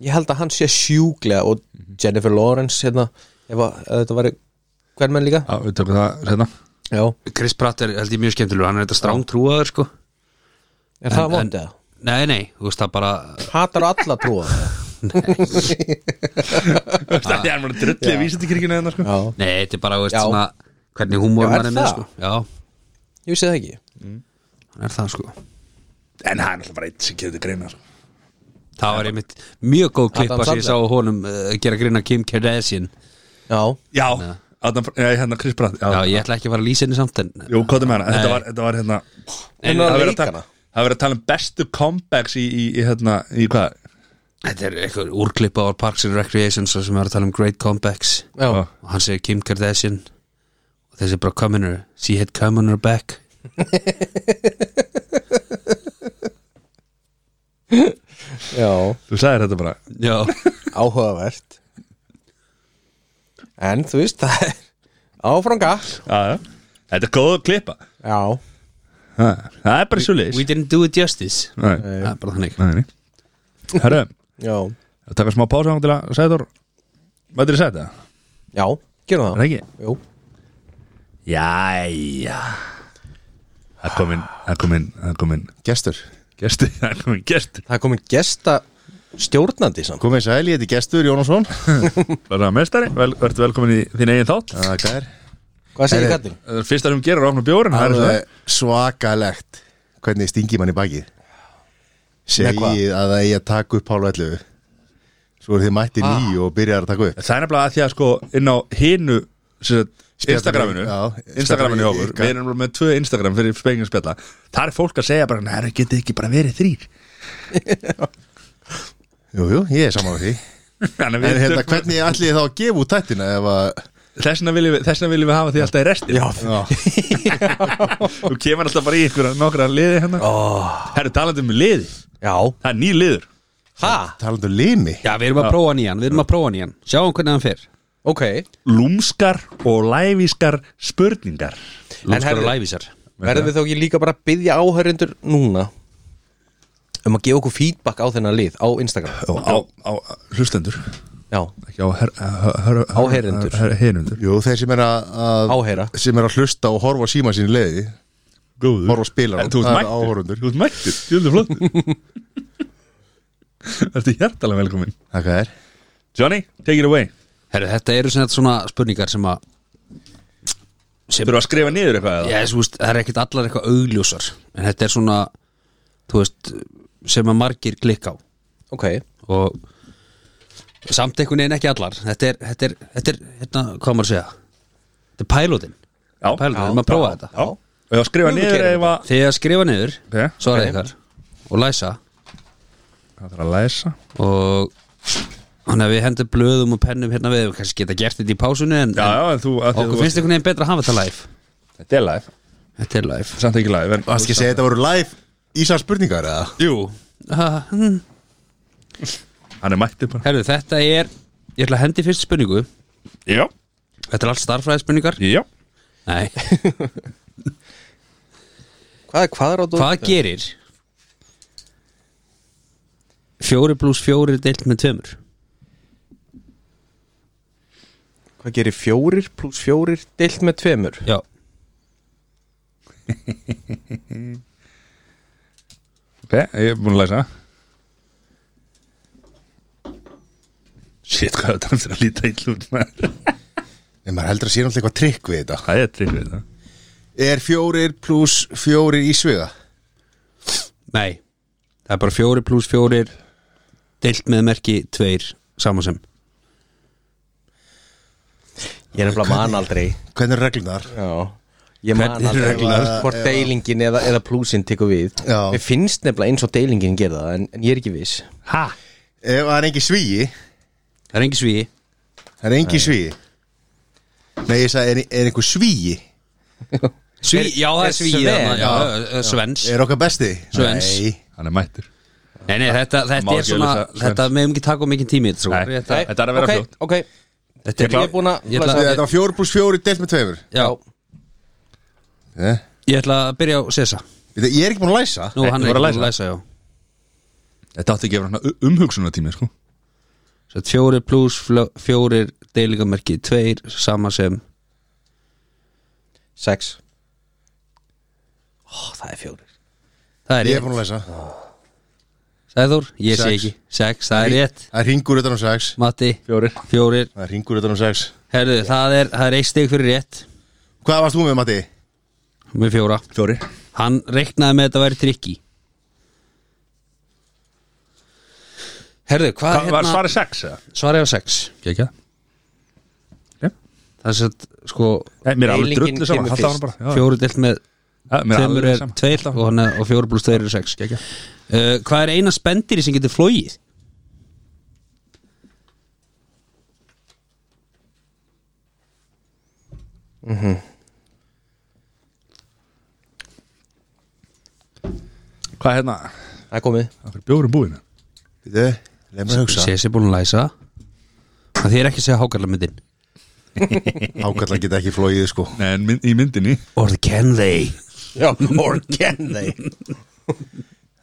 B: Ég held að hann sé sjúklega og Jennifer Lawrence hérna, ef að, að þetta var hvern menn líka
A: já, við tökum það hérna
B: Já,
C: Chris Pratt er held ég mjög skemmtilegur hann er þetta strángtrúaður sko
B: er það vond eða?
C: nei, nei, þú veist, það bara
B: Hatar alla trúa
A: Það er mér að drulli vísindikirkjuna hennar sko
B: Já,
C: nei, þetta er bara, þú veist,
B: Já.
C: svona hvernig húmór
B: Já, er
C: maður er með
B: það?
C: sko já,
B: ég vissi það ekki
C: hann er það sko
A: En hann er alltaf bara eitt sem getur greina sko.
C: það var einmitt mjög góð
B: Adam
C: klippa sem ég sá
B: Sandler.
C: honum uh, gera grína Kim Kardashian
B: Já,
A: Já, Adam, já, hérna Chris Pratt
C: já, ég ætla ekki að fara að lýsa henni samt en
A: Jú, hvað er með hana? Þetta var, þetta var hérna
B: en að
A: það verið að
B: leika
A: tala-
B: hana
A: það verið að tala um bestu comebacks í, í, í hérna, í hvað?
C: þetta er eitthvað úrklippa á Parks and Recreations þar sem er að tala um great comebacks
B: Já,
C: og hann segir Kim Kardashian og þessi er bara coming her she had come on her back
B: já,
A: Þú sagðir þetta bara
C: já,
B: áhugavert En þú veist það er áfranga
A: já, já. Þetta er góð að klippa
B: Já,
A: ha, Það er bara svo leis
C: we didn't do it justice
A: Nei,
C: það er bara þannig
A: nei, nei Herru,
B: já,
A: að taka smá pása án til að Sæður Mættir í sæta,
B: já, gerum
A: er það
B: það
A: ekki?
B: Jú,
A: Jæja Það kom inn, það kom inn, það kom inn
D: Gestur
A: Gesti, það kom inn, gesti
B: það er komin gesta stjórnandi samt
D: Komið sæl, ég heiti Gestur Jónasson
A: Bara mestari, vel, verður velkomin í þín eigin þátt
D: Það er gær
B: Hvað segir Katrin?
A: Það er fyrsta sem gerir ofna bjórin Það er svona
D: Alveg svakalegt Hvernig stingi mann í baki
B: Með hvað?
D: Segið að það eigi að taka upp hálf 11 Svo er þið mætti ah. nýju og byrjar að taka upp
A: Það er nefnilega að því að sko inn á hinu sem sagt, Instagraminu
D: Já,
A: Instagraminu hjá okkur,
D: ykkar.
A: við erum með tvö Instagram fyrir spengin spjalla, þar er fólk að segja bara, næra getið ekki bara verið þrýr
D: Jú, jú, ég er saman á því
A: Þannig að
D: En
A: við
D: hérna,
A: tökum-
D: hvernig ætli ég þá að gefa út tættina ef að
A: Þessna viljum við, þessna viljum við hafa því alltaf í restin Já,
D: Já,
A: þú kemur alltaf bara í ykkur nokkra liði hérna
B: Oh.
A: Það eru talandi um liði,
B: Já,
A: það er ný liður
B: ha,
D: talandu um limi
C: já, við erum að prófa hann í hann, við erum að prófa hann í hann sjáum hvernig hann fer
B: ok
A: Lúmskar og lævískar spurningar
C: lúmskar
B: herðu-
C: og lævísar
B: Verðum við þá ekki líka bara að byggja áhörindur núna um að gefa okkur feedback á þennan lið á Instagram
A: á, á, á hlustendur
B: Já,
A: ekki á her, her, her,
B: Áheyrendur.
A: her, her, herindur
D: Jú, þeir sem er að, að
B: Áheyra.
D: Sem er að hlusta og horfa á síma sín í leiði
A: Góður
D: Horfa á spilarann.
A: Þú ert
D: Það er
A: mættur,
D: áhorfendur.
A: þú ert mættur, jöldu flottur Þetta er hjartalega velkomin
D: Það er
A: Johnny, take it away
C: Herru, þetta eru sem sagt svona spurningar sem að
A: Þú eru að skrifa niður eitthvað eða?
C: Já, þú veist, það er ekkert allar eitthvað augljósar en þetta er svona, þú veist sem að margir klikka á
B: ok
C: og samt einhvern veginn ekki allar þetta er, þetta er, þetta er hérna, hvað á maður að segja þetta er pælótin,
A: Já,
C: pælótin, við erum að prófa þetta
A: Já, og ég að skrifa
B: Jú,
A: niður
B: gerum
A: ef að
C: þegar skrifa niður,
A: Ok.
C: svara
B: Ok.
C: ykkar og læsa
A: Það þarf að læsa
C: og þannig að við hendum blöðum og pennum hérna við, við kannski geta gert þetta í pásunni en,
A: Já, já, en þú að
C: en
A: því að
C: okkur
A: þú
C: finnst einhvern veginn betra að hafa þetta live
A: Þetta er live,
C: þetta er live
A: samt ekki live en,
D: Það skal segja þetta voru live Ísar spurningar eða?
C: Jú, ha, hm.
A: Hann er mættur bara
C: herru, þetta er ég ætla að hendi fyrst spurningu
A: Já,
C: þetta er allt starfræðspurningar
A: já
C: Nei,
B: Hvað er hvað er á þú?
C: hvað gerir fjóri pluss fjóri deilt með tveimur
B: Hvað gerir fjórir pluss fjórir deilt með tveimur?
C: Já
A: Ok, ég er búin að læsa Shit, hvað er þetta eftir að líta illa út maður?
D: En maður heldur að sé náttúrulega eitthvað trikk við þetta
A: Það er trygg við þetta
D: Er fjórir pluss fjórir í sviða?
C: Nei, það er bara fjóri pluss fjórir deilt með merki tveir saman sem
B: Ég er nefnilega man aldrei
D: Hvernig er reglunar?
B: Já Ég man
A: Hvernig eru
B: aldrei
A: reglurnar?
B: hvað- hvort deilingin eða, eða plusinn tekur við
D: Já.
B: Mér finnst nefnilega eins og deilingin gerða það en, en ég er ekki viss
A: Ha?
D: Ef það er engin svíi
C: Það er engin svíi
D: Það er engin svíi Nei, ég sagði, er, er einhver svíi?
C: Sví, já, það
B: er
C: er svíi
B: Sven?
C: þarna, já, já, Svens
D: Er okkar besti?
C: Svens.
D: Nei
A: Hann er mættur
C: Nei, nei, þetta,
A: Má
C: þetta er
A: ekki
C: svona
A: auglýsa Svens.
C: Þetta meðum ekki taka of mikið tími þetta, sko.
A: Nei,
C: svo.
A: þetta þetta er að vera
B: Ok,
A: fljótt
B: Ok,
C: Þetta
B: Ég er búinn að
C: ég ætla,
D: Þetta var fjórir pluss fjórir deilt með tveimur
C: já,
D: Eh?
C: ég ætla að byrja á Sessa
D: Veitu, Ég er ekki búin að læsa
C: Nú,
A: Nei,
C: hann
A: þú
C: er
A: voru að
C: ekki búinn að læsa, já
A: Þetta átti ekki að vera hann umhugsunatími, sko
C: Svo fjórir pluss fljó- fjórir deilingamerki tveir sama sem
B: sex Ó, það er fjórir
C: Það er
D: Ég er
C: rétt,
D: búin að læsa
C: Sæður, ég sé
D: Sex.
C: ekki Sex, það er rétt
D: Það er ringur utan á sex
C: Matti,
A: Fjórir
C: fjórir
D: Það er ringur utan á sex
C: Herðu, það er, það er eitt stig fyrir rétt
D: Hvað varst þú með, Matti?
C: Með fjóra
A: Fjórir
C: Hann reiknaði með að þetta væri trikki Herðu, hvað hérna-
A: Hvað var svarið sex, eða?
C: svarið á sex
A: Gekja
C: Það er satt, sko
A: Mér er alveg
B: Deilingin
A: drullu saman
B: kemur
A: Það var bara
B: fyrst.
A: já, já.
C: Fjóru delt með
A: Ja, Mér er
C: Tveimur
A: alveg
C: er
A: saman
C: tveir og, hann er- og fjóru pluss tveir eru sex uh,
A: Gekja
C: Hvað er eina spendýri sem getur flóið?
A: Hvað er hérna?
B: Það er komið
A: Það er bjórum búinu
D: Veitu, leið mér að hugsa
C: Sessi er búin að læsa Það þýr ekki að segja hákarlamyndin
D: Hákallar geta ekki flóið, sko
A: Nei, en mynd, í myndinni
C: Or can they
B: Já, or can they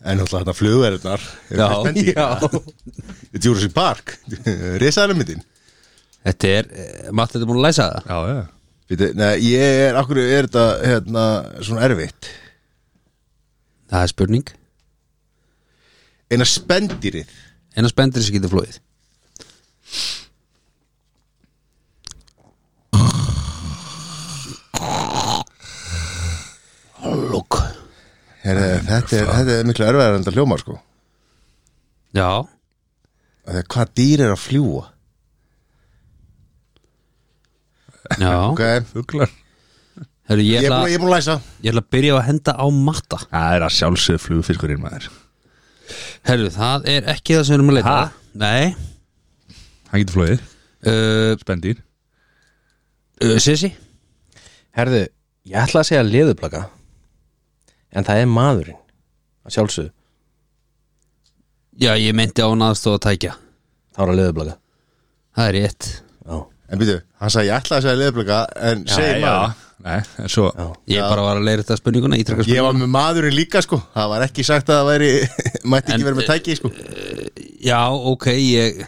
D: En náttúrulega þetta flugverðnar
C: Já.
B: Já,
D: Jurassic Park Risaðanum mittinn
C: Þetta er, eh, Matti er búin að læsa það
A: Já, já
D: Veitu, Nei, ég er, akkur er þetta hérna, svona erfitt
C: Það er spurning
D: Eina spendýrið
C: Eina spendýri sem getur flóið Lúk
D: er, þetta, er, þetta er miklu erfiðar en þetta hljóma, sko
C: Já,
D: Af því að Hvað dýr er að fljúa?
C: já
D: Ok,
A: Fuglar
C: Heru, ég,
D: ég er
C: ætla,
D: búin, ég er búin að læsa
C: ég ætla að byrja að henda á matta
A: Það er að sjálfsögðu flugfiskurinn maður
C: Herru, það er ekki það sem við erum að leita
A: Ha?
C: Nei
A: Hann getur flóið
C: uh,
A: Spendýr
C: uh, Sissi
B: herðu Ég ætla að segja leðuplaka En það er maðurinn að Sjálfsögðu,
C: Já, ég meinti á hann aðstóð að tækja
B: þá er að leðuplaka
C: Það er rétt
B: Já,
D: En býtu, hann sagði ég ætla að segja leðblöka En segi maður
A: Nei, en svo
B: já
C: Ég bara var að leira þetta spurninguna Ítraka
D: Ég
C: spurninguna
D: var með maðurinn líka sko Það var ekki sagt að það væri Mætti ekki
A: eh,
D: verið með tæki sko
C: Já, ok, ég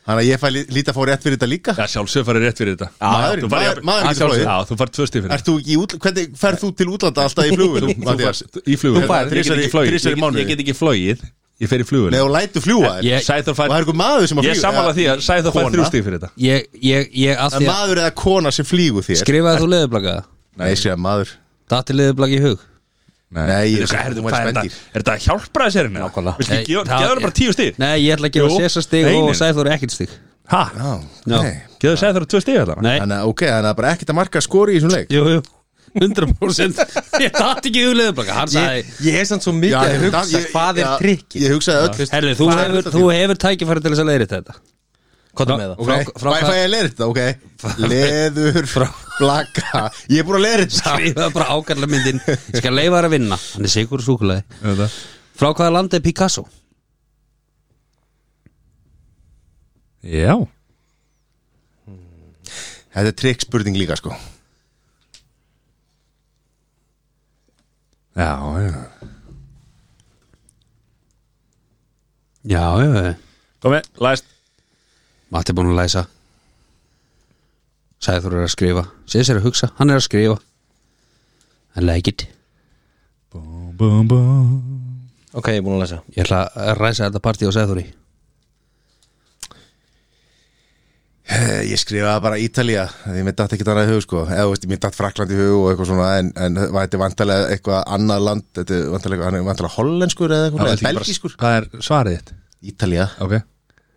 D: Þannig að ég fæ lí- líta að fá rétt fyrir þetta líka
A: Já, sjálfsögðu farið rétt fyrir þetta
D: Maðurinn-
A: Þú farið
D: maður-
A: jafn- Já,
D: maðurinn getur flogið.
A: Já, þú farið tvö stíð fyrir
D: Ert þú ekki í útlanda, hvernig ferð þú til útlanda alltaf í flugvélum,
A: Þú
D: Mattias?
A: farið í flugvél
D: Þú farð,
A: Ég get- Ég
D: ég get ekki flogið.
A: get ekki flogið Ég fer í flugvél
D: Nei, og lætu fljúa þér.
C: Ég-
A: Sæþór
D: Og
A: fær
D: það er einhver maður sem að
A: Ég
D: flýgur,
A: sammála
D: eða-
A: því að Sæþór fær
D: Kona.
A: þrjú stíð fyrir þetta
C: Ég, ég, ég, að
D: Það
C: því
D: er
C: að
D: maður eða kona sem flýgur þér
C: Skrifaði þú leðublaka?
D: Nei, ég skrifaði maður
C: Datti leðublaka í hug?
D: Nei, ég
A: Hvað er þetta-
D: þú maður
A: er þetta?
D: spendir
A: Er þetta að hjálpa þess erinn?
B: Nákvæmlega.
A: Viltu
C: Nei,
A: ekki gefa
C: það-
A: gefa henni bara tíu stíð?
C: Nei, ég ætla að gefa
A: Jú.
C: Sessa stig
A: Nei,
C: og
A: nei.
C: Sæþór ekkert stig
A: Ha?
D: Já,
C: Já.
D: ok.
A: Geðu Sæþór tvö stíð allavega?
C: Nei,
D: Þannig að, ok, þannig að bara ekkert að marka skori í þessum leik
C: jú, jú 100% Ég datti ekki í hug leðublaka Hann sagði
B: Ég hef samt svo mikið
D: Já,
B: að
D: ég-
B: hugsa
D: ég-
B: hvað er
D: já,
B: trikki
D: Ég hugsaði öll fyrst
C: Herri, þú
D: Hvað er
C: hefur,
D: þetta
C: þú hefur tækifæri til þess að leiðri þetta
B: Hvað er með það?
D: Ok,
C: frá- frá
D: fæ-
C: hvað-
D: fæ ég að leira þetta, ok Leður, blaka Ég er búin að leira þetta
C: Skrifaði bara ákalla myndin Ég skal leifa þær að vinna Hann er sigur og súkulega
A: Þetta.
C: Frá hvaða landi er Picasso?
A: Já
D: Þetta er trikkspurning líka, sko
A: Já, já
C: Já, já, já
A: Komi, læst
C: Matti er búin að læsa Sæður er að skrifa Sess er að hugsa, hann er að skrifa I like it
A: Bum, bum, bum
B: Ok, ég er búin að lesa
C: Ég ætla að ræsa þetta partí og segja þú því
D: Eh, Ég skrifaði bara Ítalía Því mér datt ekki þannig í hug sko Eða þú veist, mér datt Frakland í hug og eitthvað svona En, en þetta er vantarlega eitthvað annað land Þetta er vantarlega, hann er vantarlega hollenskur eða eitthvað Eða belgískur
A: Hvað er svarið þitt?
D: Ítalía
A: Ok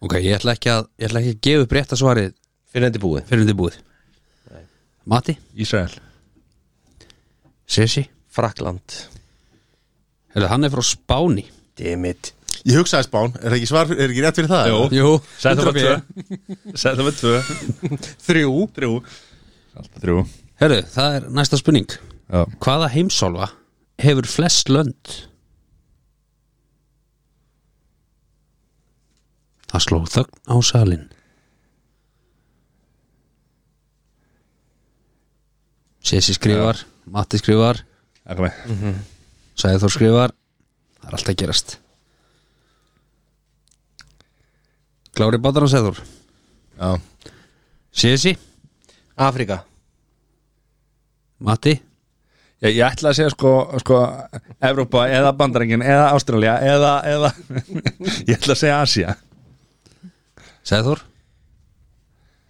C: Ok, ég ætla ekki að, ég ætla ekki að gefa upp rétta svarið
B: Fyrir þetta er búið
C: fyrir undir búið Mati,
A: Ísrael
C: Sessi
B: Frakland
C: Hefðu, hann er frá Spáni
B: Dimmit
D: Ég hugsaði Spán, er það ekki svar, er ekki rétt fyrir það? eða?
C: Jú,
A: Sæð það
C: 100
A: með tvö Sæð það með tvö
B: Þrjú
A: Þrjú Alltaf þrjú
C: Herru, það er næsta spurning
A: Já
C: Hvaða heimsálfa hefur flest lönd? Það sló þögn á salin Sessi skrifar, Matti skrifar
A: Það kom með
C: Sæður Þór skrifar Það er alltaf að gerast Klári bátar á Sæður
D: Já,
C: Sessi,
B: Afrika
C: Matti
A: Ég, ég ætla að segja sko, sko Evrópa eða Bandarækin eða Ástralja eða, eða Ég ætla að segja Asia
C: Sæður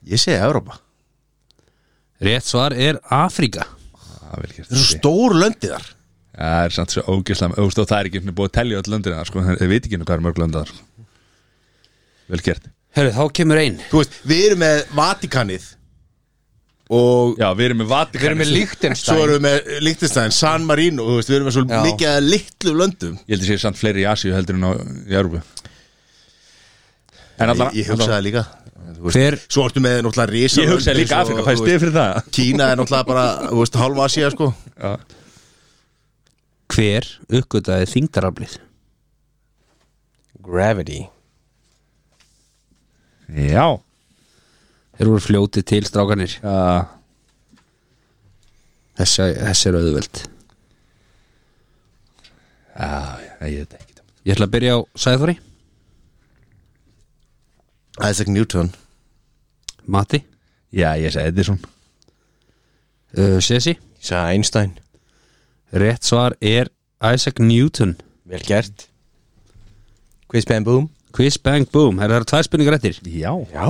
D: ég segi Evrópa
C: Rétt svar er Afrika
A: Það er vel gert
D: Það eru svo stór löndiðar
A: Það er samt svo ógislega Þú veist, og það er ekki einu sinni búið að telja öll löndina sko, Þeir veit ekki einu hvað er mörg löndar sko. Vel gert
C: Herru, þá kemur ein
D: Þú veist, við erum með Vatikanið Og
A: Já, við erum með Vatikan
B: Við erum með
D: svo
B: Lichtenstein
D: erum við með Lichtenstein, San Marino Þú veist, við erum með svo
B: Já.
D: mikið að litlu löndum
A: Ég held að sé samt fleiri í Asíu heldur en á í Evrópu En allan
D: Ég, ég hugsaði líka Þú veist,
C: Hver-
D: Svo ertu með náttúrulega risa
A: Ég hugsaði líka Afrika, fæði stið fyrir það
D: Kína er náttúrulega bara, þú veist, halva Asia sko
C: Hver uppgötaði þingdaraflið?
B: Gravity
A: Já
C: Þeir voru fljótið til strákanir
A: Já
C: Þessi, þessi er auðveld
A: Já, ég veit ekki
C: Ég ætla að byrja á Sæðþóri
D: Isaac Newton
C: Matti
A: Já, ég segi Edison
C: uh, Sessi
B: Ég sagði Einstein
C: Rétt svar er Isaac Newton
B: Vel gert Quiz Bam Boom
C: Quiz bang boom Herra, Það eru tvær spurningar eftir
A: Já
B: Já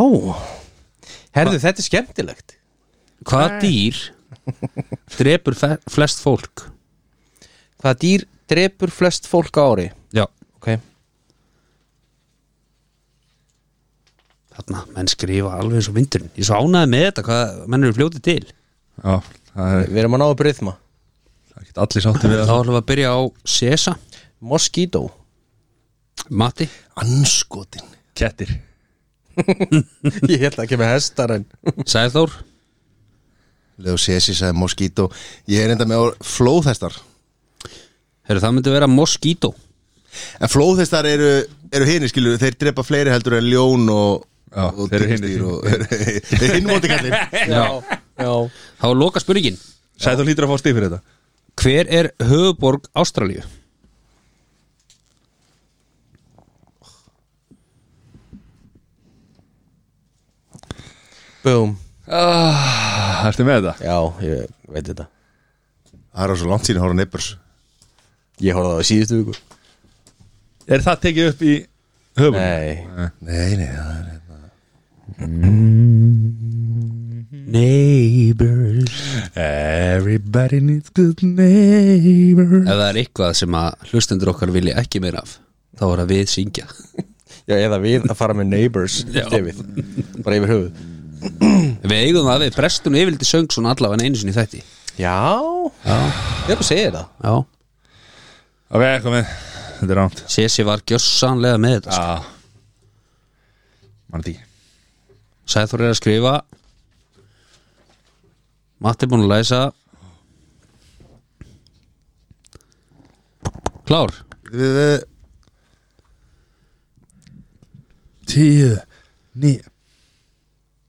B: Herðu, þetta er skemmtilegt
C: Hvaða dýr drepur fe- flest fólk?
B: Hvaða dýr drepur flest fólk á ári?
C: Já
B: Ok
C: Þarna, menn skrifa alveg eins og vindurinn Ég svo ánaði með þetta hvað menn eru fljótið til
A: Já, það er
B: Við erum að ná upp rytma
A: ekki allir sátti við
C: Þá
A: það
C: ætlum við að byrja á Sessa
B: Mosquito
C: Matti
D: Anskotin
A: Kettir
B: Ég held ekki með hestar en
C: Sæðþór
D: Leo Sessi sagði Mosquito Ég er enda með orð flóðhestar
C: Herra, það myndi vera Mosquito
D: En flóðhestar eru, eru hinni skilur Þeir drepa fleiri heldur en ljón og
A: Já,
D: og
A: þeir eru hinir.
D: tígrisdýr og- Þeir eru hinn móti kallir
B: Já, já
C: Þá er loka spurningin
A: Sæður hlýtur að fá stið fyrir þetta
C: Hver er höfuborg Ástralíu?
B: Boom
A: Ertu með þetta?
B: Já, ég veit þetta
D: Það er á svo langt síðan að horfa neighbors
B: Ég horfði á það síðustu viku
A: Er það tekið upp í höfum?
B: Nei
D: Nei, nei, það er hérna
C: Neighbors
A: Everybody needs good neighbor
C: Ef það er eitthvað sem að hlustendur okkar vilja ekki meira af þá er að við syngja
B: Já, eða við að fara með neighbors
C: Já.
B: David Bara yfir höfuð
C: Við eigum það við prestunum yfirliti söng svona allavega einu sinni í þætti
B: Já Já Ég er bara að segja þér það
C: Já
A: Ok, komið Þetta er rámt
C: Sessi var gjössanlega með þetta
A: Já Mann því
C: Sæþór er að skrifa Matti er búin að læsa Klár
D: Við, við,
A: Tíu Ný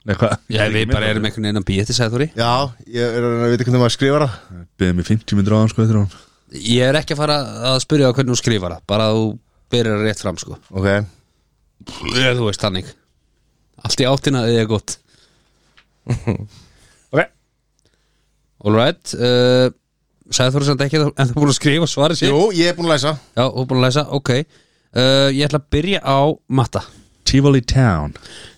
A: Nei, hvað?
C: Já, við bara erum einhvern veginn að býja þetta Sæþóri
D: já, ég er að veit hvernig maður skrifar það
A: Beðið mér 50 minn dráðan sko eftir hún
C: Ég er ekki að fara að spyrja á hvernig þú skrifar það bara að þú byrjar rétt fram sko
D: Ok,
C: Eða þú veist þannig Allt í áttina eða gott
A: Ok
C: Alright uh, Sæður þú samt ekki en það búin að skrifa svarið sér
D: Jú, ég er búin að læsa
C: Já, þú er búin að læsa, ok uh, Ég ætla að byrja á matta
A: Tivoli Town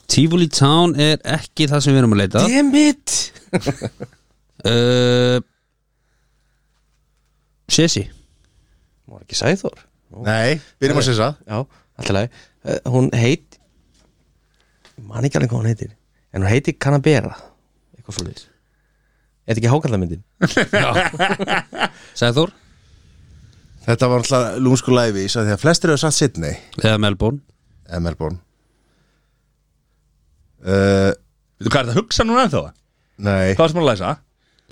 C: Tivoli Town er ekki það sem við erum að leita
B: Damn it
C: uh, Sessi
B: Hún var ekki Sæþór
D: Nei, byrjum að sessa
B: Já, alltaf leið uh, Hún heit Ég Man ekki alveg hvað hún heitir En hún heitir Canabera Eitthvað svo leið Þetta ekki hákallamyndin
C: Sæður,
D: Þetta var alltaf lúmsku læfis að því að flestir hefur satt sitt nei
C: eða Melbourne
D: eða Melbourne uh,
A: Veitu hvað er þetta að hugsa núna ennþá?
D: Nei,
A: Hvað er sem að læsa?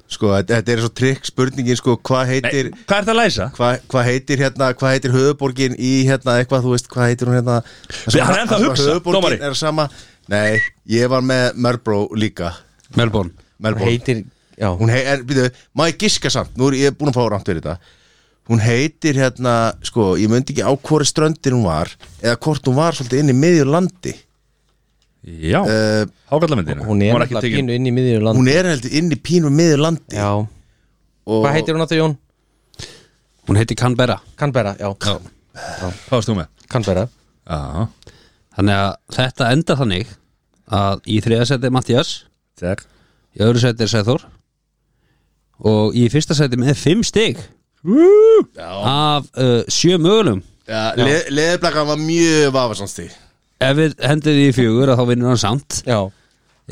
D: sko, þetta- þetta er svo trikk spurningin sko, hvað
A: Nei,
D: heitir
A: hvað er þetta að læsa?
D: Hvað hva heitir hérna, hvað heitir höfuborgin í hérna eitthvað, þú veist, hvað heitir hún hérna það sem-
A: Hann er ennþá að
D: það sem
A: hugsa,
D: höfuðborgin
A: dómari.
D: er sama, nei, ég var með Mörbró líka,
C: Melbourne
B: Hún
D: Melbourne
B: heitir Já,
D: hún hei, er, býtu, má ég giska samt nú er ég búin að fá rámt fyrir þetta hún heitir hérna, sko, ég myndi ekki á hvori ströndir hún var eða hvort hún var svolítið inn í miðjur landi
A: Já, hérna
D: uh,
A: hákallamyndina
B: hún er
A: var
B: alltaf
A: tekin-
B: pínu inn í miðjum land
D: hún er heldur inn í pínum miðjur landi
B: Já,
D: og
B: hvað heitir hún aftur Jón?
C: Hún heiti Canberra
B: Canberra, já,
A: Hvað varst þú með?
B: Canberra
A: Já,
C: Þannig að þetta endar þannig að í þriða seti er Mattias
A: takk
C: Í öðru seti er Sæþór Og í fyrsta seti með fimm stig Af uh, sjö mögulegum
D: ja, leðblakan var mjög vafasamsti
C: Ef við hendum því í fjögur að þá vinnur hann samt
B: Já,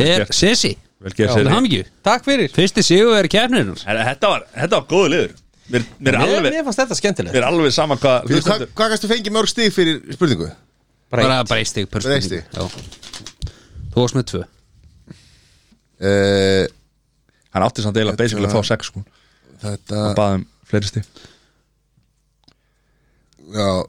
C: Er Sessi
A: Vel gerð
C: Til
A: sér
C: hamingju
B: takk fyrir
C: Fyrsti sigur er kefnirinnar
A: Þetta var, þetta var góðu liður Mér, mér, er
B: Mér,
A: alveg,
B: mér fannst þetta skemmtilegt
A: mér er alveg sama hvað
D: Býtu, hvað
A: hlustendur-
D: hva kannstu fengið mörg stig fyrir spurningu?
B: Bara
C: Bara breystig per
D: Bara eitt
C: spurningu. Já Þú varst með tvö
D: Uh,
A: Hann átti samt eiginlega basically að fá sex sko
D: þetta
A: Hann baði um fleiri stíf
D: já,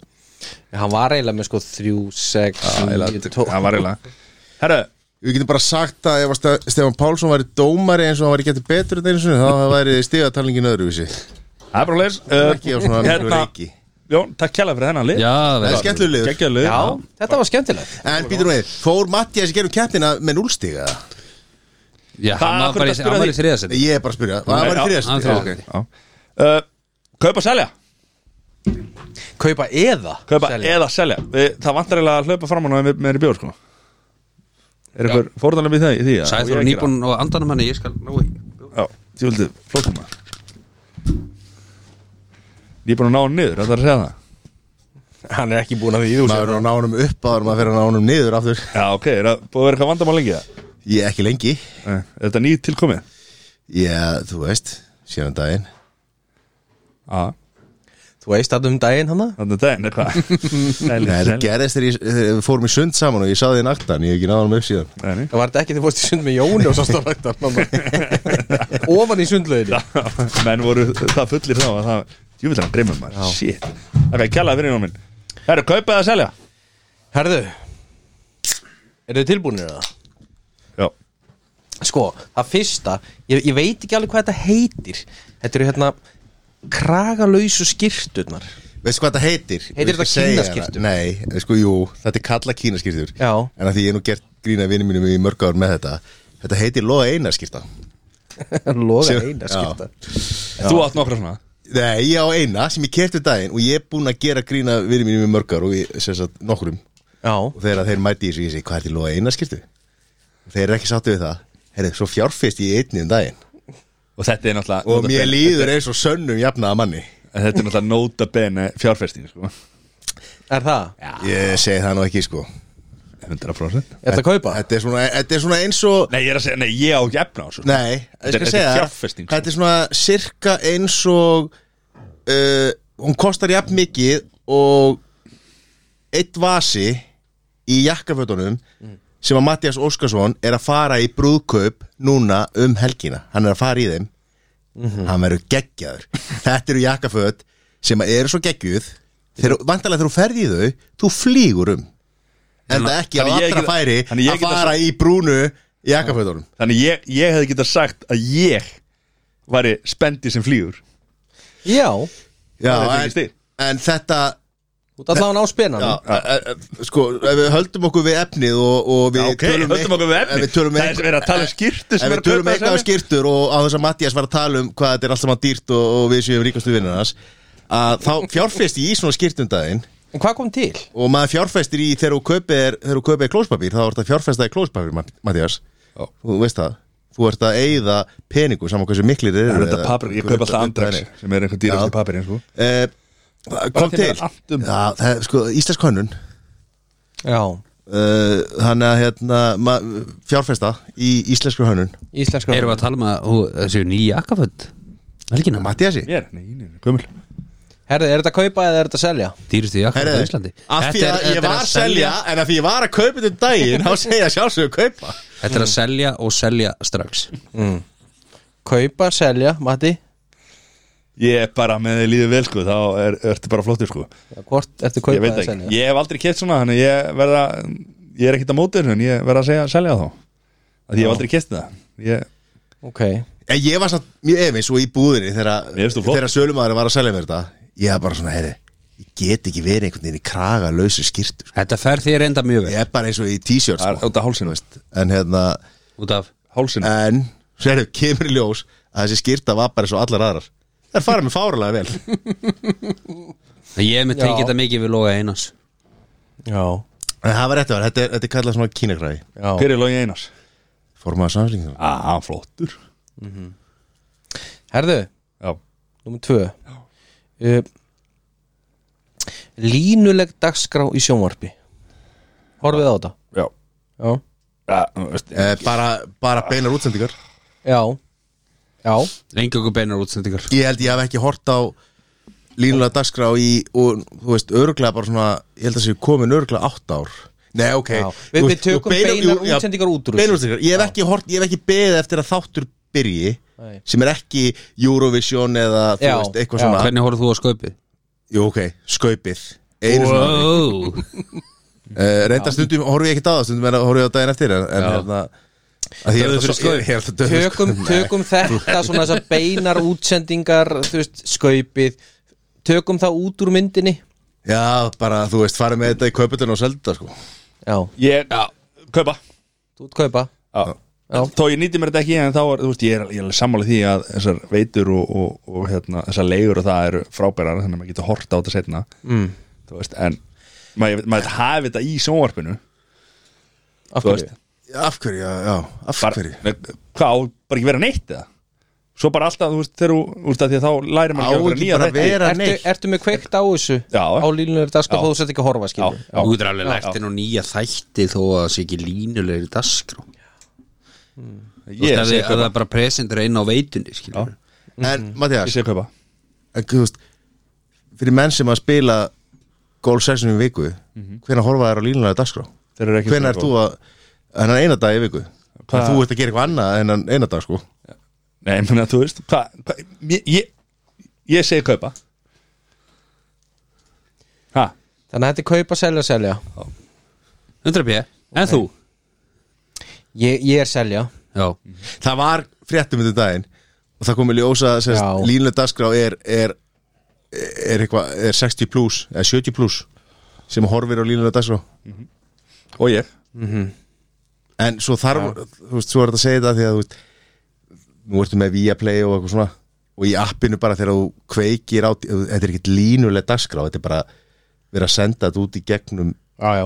B: Hann var eiginlega með sko 3, 6, 9, 12
A: Það var eiginlega Herra,
D: við getum bara sagt að ef að Ste- Stefán Pálsson væri dómari eins og hann væri getið betur en eins og þá væri stigatalningin öðruvísi
A: það er bara leis
D: ekki á svona miklu reiki
A: Jón, takk kjæla fyrir þennan lið
C: Já,
D: Það er
C: vel
D: skemmtilegur liður.
A: Gekkja lið
B: Já, þetta var skemmtilegt
D: En býtur við, fór Mattias í gerum keppnina með núlstiga?
C: Já, hann var
A: akkurat
C: bara í-
A: að spyrja
C: hann var í
A: því.
C: þriða seti
D: Ég er bara að spyrja, það var í
C: hann
D: þriðast
C: var í
D: okay.
A: uh, Kaupa selja
B: Kaupa eða
A: Kaupa
B: selja.
A: eða selja við, Það vantar eiginlega að hlaupa fram á náðum með þér í bjór sko Er ykkur fórðanlega við það í því? að-
C: Sæþór
A: og
C: er
A: ég
C: nýbúinn og andanum henni Ég skal ná í
A: gera- Já, því vildið flókum að Nýbúinn að ná hann niður, þetta er að segja það
B: Hann er ekki búin að því þú
D: Maður er á nánum upp áður, maður fer að nánum niður aftur
A: Já, ok, er það búið að vera eitthvað vandamál lengi það?
D: Ég er ekki lengi
A: Nei, Er þetta nýtt tilkomið?
D: Já, þú veist, síðan um daginn
A: Já,
B: Þú veist að um daginn hana
A: þannig að daginn, eitthvað Selja,
D: Nei, það gerðist þegar ég- þegar við fórum í sund saman og ég sáði í naktan, ég hef ekki náðum upp síðan
A: Nei,
B: Það var þetta ekki þegar fórst í sund með Jóni og svo stóðrættar Ofan í sundlauginni
A: menn voru það fullir þá að það, djúvillan dreymum maður, shit Það er kjallað fyrir náminn Það eru kaupað að selja
B: Herðu Eru þið tilbúinir það?
A: Já,
B: Sko, það fyrsta ég, ég veit ekki alveg hvað þetta heitir Þetta eru hérna Kragalausu skýrturnar
D: Veistu hvað þetta heitir?
B: Heitir
D: Ég skal
B: þetta
D: segja þér
B: kínaskyrtur?
D: það. Nei, sko, jú, þetta er kalla kínaskýrtur
B: Já.
D: En að því ég er nú gert grína vinni mínum í mörg ár með þetta Þetta heitir loða einaskýrta
B: Loga
D: Sér-
B: eina
D: Já.
B: skýrta
A: þú átt nokkra svona
D: Nei, ég á eina sem ég kerti daginn og ég er búin að gera grína vinni mínum í mörg ár og ég, sem sagt, nokkrum
B: Já,
D: og þegar þeir mæti í þessu, ég segi, hvað er til loða eina skiptu? Þeir eru ekki sáttu við það Herri, svo fjárfist ég í einni um daginn
A: Og þetta er náttúrulega
D: og mér
A: nota bene-
D: líður eins og sönnum jafnaða manni
A: Þetta er náttúrulega nota bene fjárfesting sko.
B: er það?
D: ég segi það nú ekki, sko
A: 100%
B: Er það að kaupa?
D: Þetta er svona, þetta er svona eins og
A: Nei, ég er að segja, nei, ég á ekki efna á sko. svo
D: Nei, ég
A: Þetta er-
D: skal
A: þetta er
D: segja þér,
A: fjárfesting, sko.
D: Þetta er svona sirka eins og uh, hún kostar jafn mikið og eitt vasi í jakkafötunum sem að Mattias Óskarsson er að fara í brúðkaup núna um helgina hann er að fara í þeim
A: Mhm.
D: hann verður geggjaður þetta eru jakkaföt sem að eru svo geggjuð þegar, vantarlega þegar þú ferð í þau þú flýgur um en það ekki á
A: þannig ég
D: allra
A: geta-
D: færi
A: þannig ég
D: að
A: geta
D: fara í brúnu jakkafötunum
A: Þannig ég, ég hefði getað sagt að ég væri spendi sem flýur
B: Já,
D: Já,
A: Það er ekki
D: en,
A: stig. Mm.
D: en þetta
B: Þú ert allavega á spennan
D: Já, e- e- e- sko, ef við höldum okkur við efnið og, og við e-
A: ok, höldum okkur við efni
D: ef við tölum
A: Það er verið að tala um skýrtu
D: Ef
A: sem
D: við
A: er að
D: tölum
A: kaupa
D: eitthvað um
A: þess
D: skýrtur og á þess að Mattias var að tala um hvað þetta er allt saman dýrt og, og við séum ríkastu vinnir hans að þá fjárfesti í svona skýrtum daginn
B: En hvað kom til?
D: og maður fjárfestir í þegar þú kaupir, þegar þú kaupir klóspapír þá ert að fjárfesta í klóspapír, Matt- Mattias
A: Já.
D: þú veist það, þú ert að eigða peningu saman hversu miklir þeir
A: Það
D: eru
A: er þetta
D: eða-
A: papir, ég kaupa alltaf
D: Nei,
A: andrax sem er einhver
D: Já.
A: dýrasti papir sko.
D: Eh, það kom
A: þeim er
D: til
A: allt um.
D: Já, það, er, sko, Íslensk hönnun
B: Já,
D: uh, þannig að hérna, ma- fjárfesta í íslensku hönnun
B: íslenska
C: Erum við að tala um að hú- þessi nýja jakkaföld Helgina,
D: Mattiasi
A: Mér, nei, nei, nei, gömul
B: Herði, er þetta að kaupa eða er þetta að selja?
C: dýrustu jakkaföld á
D: Herriði,
C: Íslandi
D: af því
C: Þetta er-
D: að ég
C: þetta er
D: var að selja en af því ég var að kaupa þetta um daginn þá segja sjálfsögur kaupa
C: Þetta er að selja og selja strax
A: Mm.
B: Kaupa, selja, Matti
A: Ég er bara með því líður vel sko, þá er, ertu bara flottir sko
B: Já, Hvort ertu að
A: Ég
B: kaupa
A: veit
B: eða
A: ekki,
B: selja?
A: ég hef aldrei keitt svona Þannig ég verða, ég er ekkert að móti þessu En ég verða að segja, selja þá Því ég hef aldrei keitt það ég,
B: Ok,
D: en ég var samt mjög efins og í búðinni þegar,
A: Mér finnst þú flott.
D: þegar sölumæður var að selja mér þetta ég var bara svona, heyri, ég get ekki verið einhvern veginn í kraga lausu skýrtu
C: Þetta fer þér enda mjög vel
D: ég er bara eins og í t-shirt
A: Það er
D: sko.
A: út af hálsinu, veist
D: en hérna,
C: Út af
A: Hálsinu,
D: en sérðu, kemur í ljós að þessi skýrta var bara eins og allar aðrar það er farið með fáralega vel
C: Ég hef með
B: Já.
C: tekið þetta mikið við loga einas
B: já,
D: en það var rétt að vera, þetta er, þetta er kallað svona kínakræði
B: já
A: hver er logi einars?
D: formaða samslingum
A: Á, ah, flottur
B: Herðu,
A: Já,
B: nummer tvö uh, Línuleg dagskrá í sjónvarpi Horfið á þetta
A: já,
B: Já,
A: já þú veist,
D: eh, bara, bara beinar útsendingar
B: já, já.
C: Engi okkur beinar útsendingar
D: ég held ég haf ekki hort á línulega dagskrá í og þú veist, örglega bara svona ég held að séu komin örglega átt ár Nei, ok
B: Já. Við-
D: Þú
B: við
D: veist, og
B: tökum beinar
D: jú, já,
B: útsendingar út úr
D: Beinar
B: þessu.
D: útsendingar, ég hef ekki hort, ég hef ekki beðið eftir að þáttur byrji
B: Nei.
D: sem er ekki Eurovision eða þú
B: Já,
D: veist, eitthvað
B: já.
D: svona
C: Hvernig horfðu þú á skaupið?
D: Jú, ok, skaupið Einu svona
C: Wow.
D: uh, Reynda stundum, horfum ég ekki á það, stundum er að horfum ég á daginn eftir en, en
C: Já.
D: hérna að því ég er
C: Döður fyrir
D: alltaf svo- ég- ég er alltaf sko. döður fyrir
B: Tökum, tökum þetta svona þessar beinar útsendingar þú veist, skaupið tökum það út úr myndinni
D: Já, bara þú veist, farið með þetta í kauputun og seldu þetta sko
B: Já,
A: ég, kaupa
B: þú ert kaupa
A: Já
B: Já.
A: Þó ég nýtti mér þetta ekki en þá er, þú veist, ég er, ég er alveg sammála því að þessar veitur og, og, og hérna, þessar leigur og það eru frábærar þannig að maður getur horta á þetta setna mm. þú veist, en maður, maður hafi þetta í sjónvarpinu
B: Af
A: Þú
B: hverju?
A: veist.
D: Af hverju, já, já, af
A: bara,
D: hverju
A: ne, hvað, á bara ekki vera neitt eða svo bara alltaf, þú veist, þegar þú- þú veist, af því að þá lærir
D: Á
A: maður ekki að
D: ekki
A: nýja
D: bara
A: þætti.
D: vera
B: Ertu,
D: neitt
B: ertu með kveikt á þessu
A: Já.
B: á línulegur dagskrá
A: Já.
B: þó þú sett ekki að horfa skilur
A: Já,
C: Þú getur alveg
B: Já.
C: lært inn á nýja þætti þó að það sé ekki línulegri dagskrá Þú
A: ég
C: veist,
A: sé
C: ef það
A: kaupa,
C: er bara presentur einn á veitunni skilur
A: Já.
D: En Mattias,
A: ég sé kaupa
D: en þú veist fyrir menn sem að spila golf 6 í viku, mm -hmm. hvenær horfa þær á línulega dagskrá?
A: Þeir eru ekki svona
D: Hvenær er þú að hennan eina dag í viku?
A: Hvað-
D: Hvað? Þú ert að gera eitthvað annað en hennan eina dag sko
A: nei, menn að þú veist, hvað, hva, ég, ég ég segi kaupa ha,
B: Þannig að þetta er kaupa, selja, selja
C: 100 p, en þú?
B: Ég, ég er selja
C: Já,
D: Það var fréttum þetta daginn og það komið ljósa að
B: Já.
D: línulega dagskrá er er, er, eitthvað, er 60 plus eða 70 plus sem horfir á línulega dagskrá
A: og ég
D: en svo þarf, þú veist, svo er þetta að segja þetta því að þú veist, nú ertu með Viaplay og eitthvað svona og í appinu bara þegar þú kveikir á þetta er ekkert línuleg dagskrá, þetta er bara verið að senda þetta út í gegnum
B: Já, já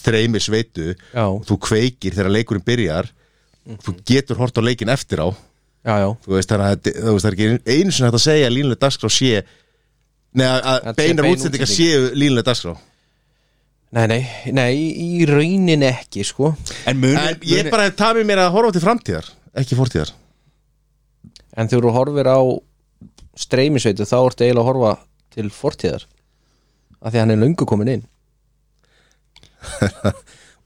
D: þreimi sveitu
B: Já.
D: og þú kveikir þegar leikurinn byrjar þú getur hort á leikin eftir á
B: Já, já,
D: þú veist, þannig að þetta- þú veist, það er ekki einu sinni hægt að segja að línuleg dagskrá sé neða að
B: Að sé
D: beinar
B: bein
D: útsendingar
B: útsending.
D: séu línuleg dagskrá
B: nei, nei, nei, í raunin ekki, sko
A: en muni,
D: en ég bara hef tamið mér að horfa til framtíðar ekki fórtíðar
B: En þegar þú horfir á streymisveitu þá ertu eiginlega að horfa til fortíðar af því að hann er löngu komin inn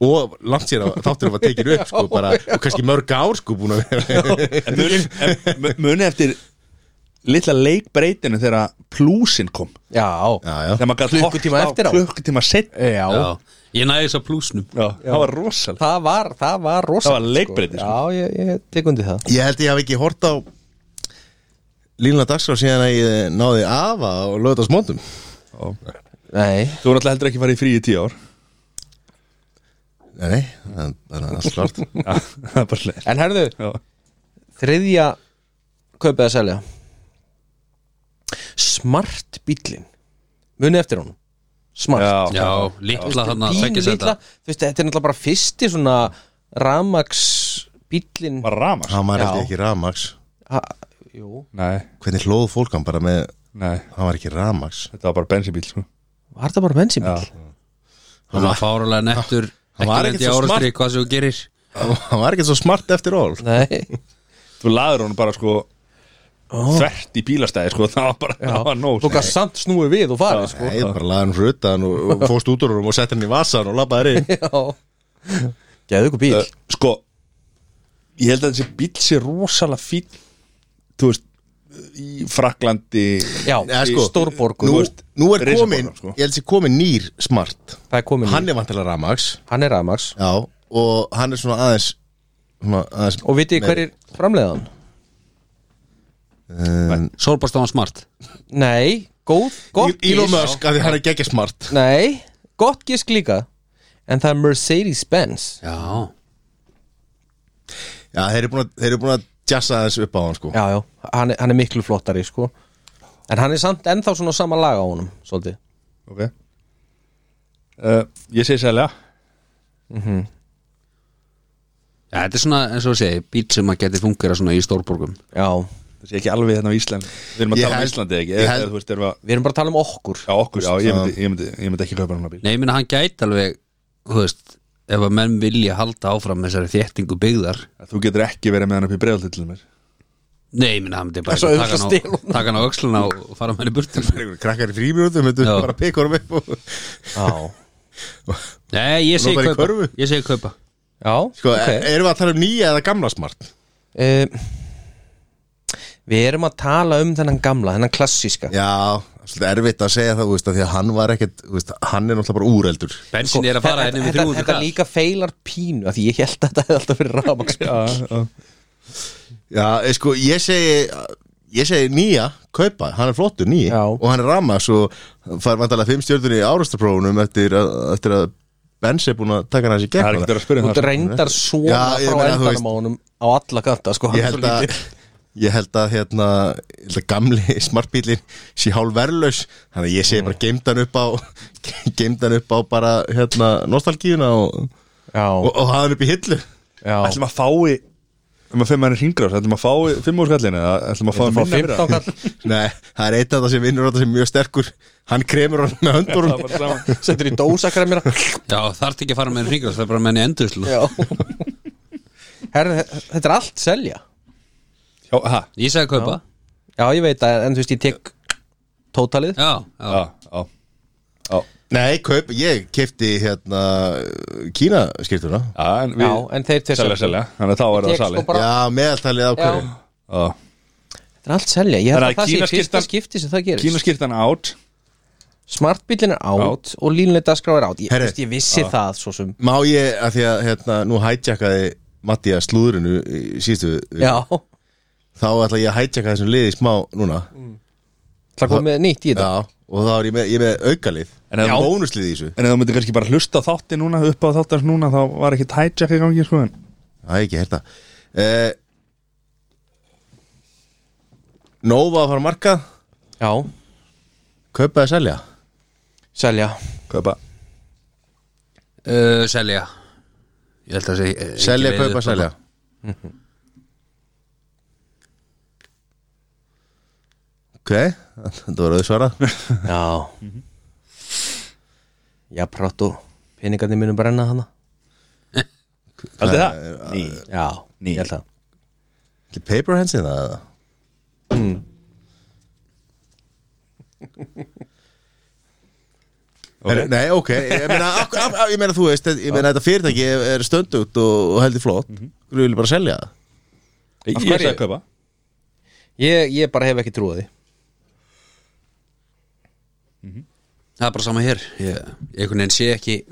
D: og langt sér að þátturinn var tekin upp sko, bara, og kannski mörg ár sko búin að vera
A: En muni- en mu- muni eftir litla leikbreytinu þegar plúsin kom
B: Já,
D: já,
A: þegar maður gæti
B: Klukkutíma eftir á.
A: klukkutíma sett
B: já, já.
C: Ég næði þess að plúsnum
A: það var rosalega
B: Það var, það var rosa
A: Það var leikbreytir, sko.
B: Já, ég, ég tekundi það
D: ég held ég hafi ekki hort á línulega dagskrá síðan að ég náði afa og lögða smóndum
B: Nei,
A: Þú er náttúrulega heldur ekki farið í frí í tíu ár
D: Nei, nei, það er bara alls klart
A: Já, Það er bara leir
B: en herðu
A: Já,
B: Þriðja kaupið að selja Smart bílin Munið eftir honum Smart
A: Já.
C: Já, litla þarna
B: Pínu
C: tveggja seta.
B: litla, þú veist, Þetta er náttúrulega bara fyrsti svona Ramax bílin
A: bara sko. ramar
D: Hann var
B: Já.
D: ekki ramax
B: Jú,
A: Nei,
D: Hvernig hlóð fólk hann bara með
A: nei,
D: Hann var ekki ramax
A: þetta var bara bensinbíl sko.
B: var þetta bara bensinbíl?
C: Hann var fárulega nettur
D: Hann
C: Ekki
D: var
C: lendi
D: ekkert svo
C: árastri hvað sem þú gerir
D: Hann var ekki svo smart eftir all
B: Nei,
A: Þú laður honum bara sko Þvert í bílastæði sko Það var bara,
B: já,
A: það var nóg sko.
B: þú gæst samt snúið við og farið sko.
D: Nei, bara laði hann rutaðan og og fórst út úr honum og sett hann í vasan og labbaði þér inn
B: Já Gæðu ykkur bíl
A: Uh, sko ég held að þessi bíl sé rosalega fín þú veist í Fraklandi
B: Já,
D: Eða,
B: í
D: sko,
B: Stórborg
A: Þú
D: Nú,
A: veist,
D: nú er
A: risaborg,
D: komin,
A: sko.
D: ég held sér komin nýr smart
B: Það er komin
D: Hann
B: hann,
D: er vantilega ramax
B: hann er Ramax
D: Já, og hann er svona aðeins svona aðeins
B: Og vitið þið hverjir framleiðan?
D: um,
C: Solbastáðan smart
B: Nei, góð, gott
D: Elon
B: gisk.
D: Musk, af því hann er geggja smart
B: Nei, gott gisk líka En það er Mercedes-Benz
C: Já
D: Já, þeir eru búin að, þeir eru búin að jassa aðeins upp á hann sko
B: Já, já, hann er, hann er miklu flottari sko En hann er samt ennþá svona sama lag á honum Svolítið
A: ok uh, ég segi sérlega
C: Já, þetta er svona, eins og þú segir, bíl sem að geti fungera svona í stórborgum
B: Já,
A: það sé ekki alveg hérna á Ísland við erum að
D: Ég
A: tala um
D: held-
A: Íslandi ekki
D: ég
A: eða,
D: held-
A: eða, þú veist, erum við að,
B: við erum bara að tala um okkur
A: já okkur, já ég myndi, ég myndi, ég myndi ekki kaupa hann bíl
C: Nei, ég minna hann gæti alveg, þú veist ef að menn vilja halda áfram þessari þéttingu byggðar
A: þú getur ekki verið með hann upp í bregðaldi til mér
C: Nei, ég minna hann myndi bara
B: Það er svo
C: taka hann
B: auðvelt að stela.
C: á- taka hann á öxluna og fara með henni burt
D: Einhverjir Krakkar í frímjóðum, myndu
C: Já.
D: bara pikka honum upp og
B: Já,
C: Nei, ég segi
D: Nú bara í
C: kaupa
D: körfu.
C: Ég segi kaupa
B: já, ok
D: Sko, okay. erum við að tala um nýja eða gamla smart?
B: uh, Við erum að tala um þennan gamla, þennan klassíska
D: Já, svolítið erfitt að segja það, þú veist, að því að hann var ekkert, þú veist, hann er náttúrulega bara úreldur
C: Bensin er að fara
B: Sko, Þetta-
C: hérna henni við
B: þetta-
C: 300
B: Þetta
C: kall
B: líka feilar pínu af Því ég held að þetta hefði alltaf verið rafmaksbíl
D: Já, eh, sko, ég segi, ég segi nýja, kaupa, hann er flottur nýja
B: Já.
D: og hann er ramax og fær vantalega fimm stjörnur í árastaprófunum eftir, að- eftir að Benz er búin að taka hann hans í
A: það er
D: gegn
A: ekki verið að spyrja um
B: Þú
A: það
B: reyndar svona
D: Já, ég
B: frá
D: meina, þú
B: endanum á honum á alla kanta sko, hann
D: ég
B: er
D: held
B: svo
D: að
B: lítill.
D: ég held að hérna ég held að gamli smartbílin sé hálf verðlaus þannig að ég
A: Mm.
D: sé bara geimdan upp á geimdan upp á bara hérna nostalgíuna og, og,
B: Já,
D: og hafa hann upp í hillu
B: já
A: ætlum að fái um að fimm hann hringrás ætlum að fái fimm úr skallinu eða ætlum að fái
B: Frá
A: minna fyrir það?
B: 15 kall
D: nei, það er eitt af það sem vinnur þetta sem er mjög sterkur hann kremur hann með
A: Það
D: höndunum
A: var bara sama.
B: Settur í dósakremina
C: Já, þarft ekki að fara með henni hringur Það er bara með henni endur sko.
B: Já Herra, þetta er allt selja
A: Já, ha,
C: Ég segi kaupa
B: Já, ég veit að, en þú veist, ég tek tótalið
C: Já, já,
A: já, já, já,
D: nei, kaup, ég kefti hérna kína skýrtuna
A: já en
B: Já,
A: við
B: en þeir tveir
A: selja, selja, þannig að þá er
B: Ég
A: það
B: tek
A: sali
B: sko bara,
D: já, meðaltalið af hverju
A: já
B: þetta er allt selja Ég held
A: Þannig
B: að
A: að
B: það sé í fyrsta
A: kínaskiptan-
B: skipti sem það gerist
A: kínaskirtan átt
B: Smartbílinn er átt og línlega dasgrá er átt Ég,
D: Herri.
B: veist, ég vissi það svo sem
D: má ég, af því að hérna nú hætjakaði Mattia slúðurinu í síðustu viku.
B: Já,
D: þá ætla ég að hætjaka þessum liði smá núna
B: Mm. það kom með nýtt í þetta
D: Já, og þá er ég með, ég er með aukalið
A: En ef-
D: Já. Bónuslið í þessu
A: En ef þú myndir kannski bara hlusta á þátti núna upp á þáttans núna þá var ekki tætjak í gangi sko en
D: Það er ekki hérta uh, Nova að fara að marka
B: Já,
D: Kaupa eða selja
B: selja
A: Kaupa
C: Uh, Selja Ég held að segja
D: Selja, kaupa, selja Ok, þetta var auðsvara
B: Já Mhm. Já, prátt og peningarnir munum brenna hana
A: Aldrei það? uh, Ný
B: Já,
A: Ný.
B: ég held það
D: Ekki paper hands in það okay. Nei, ok Ég meina, af, af, af, ég meina þú veist Ég meina þetta fyrirtæki er- er stöndugt og, og heldur flott mm -hmm. Þú vilja bara selja það
A: Ég
B: hverju?
A: sagði kaupa
B: Ég, ég bara hef ekki trúið því
C: Það er bara sama hér Ég einhvern veginn sé ekki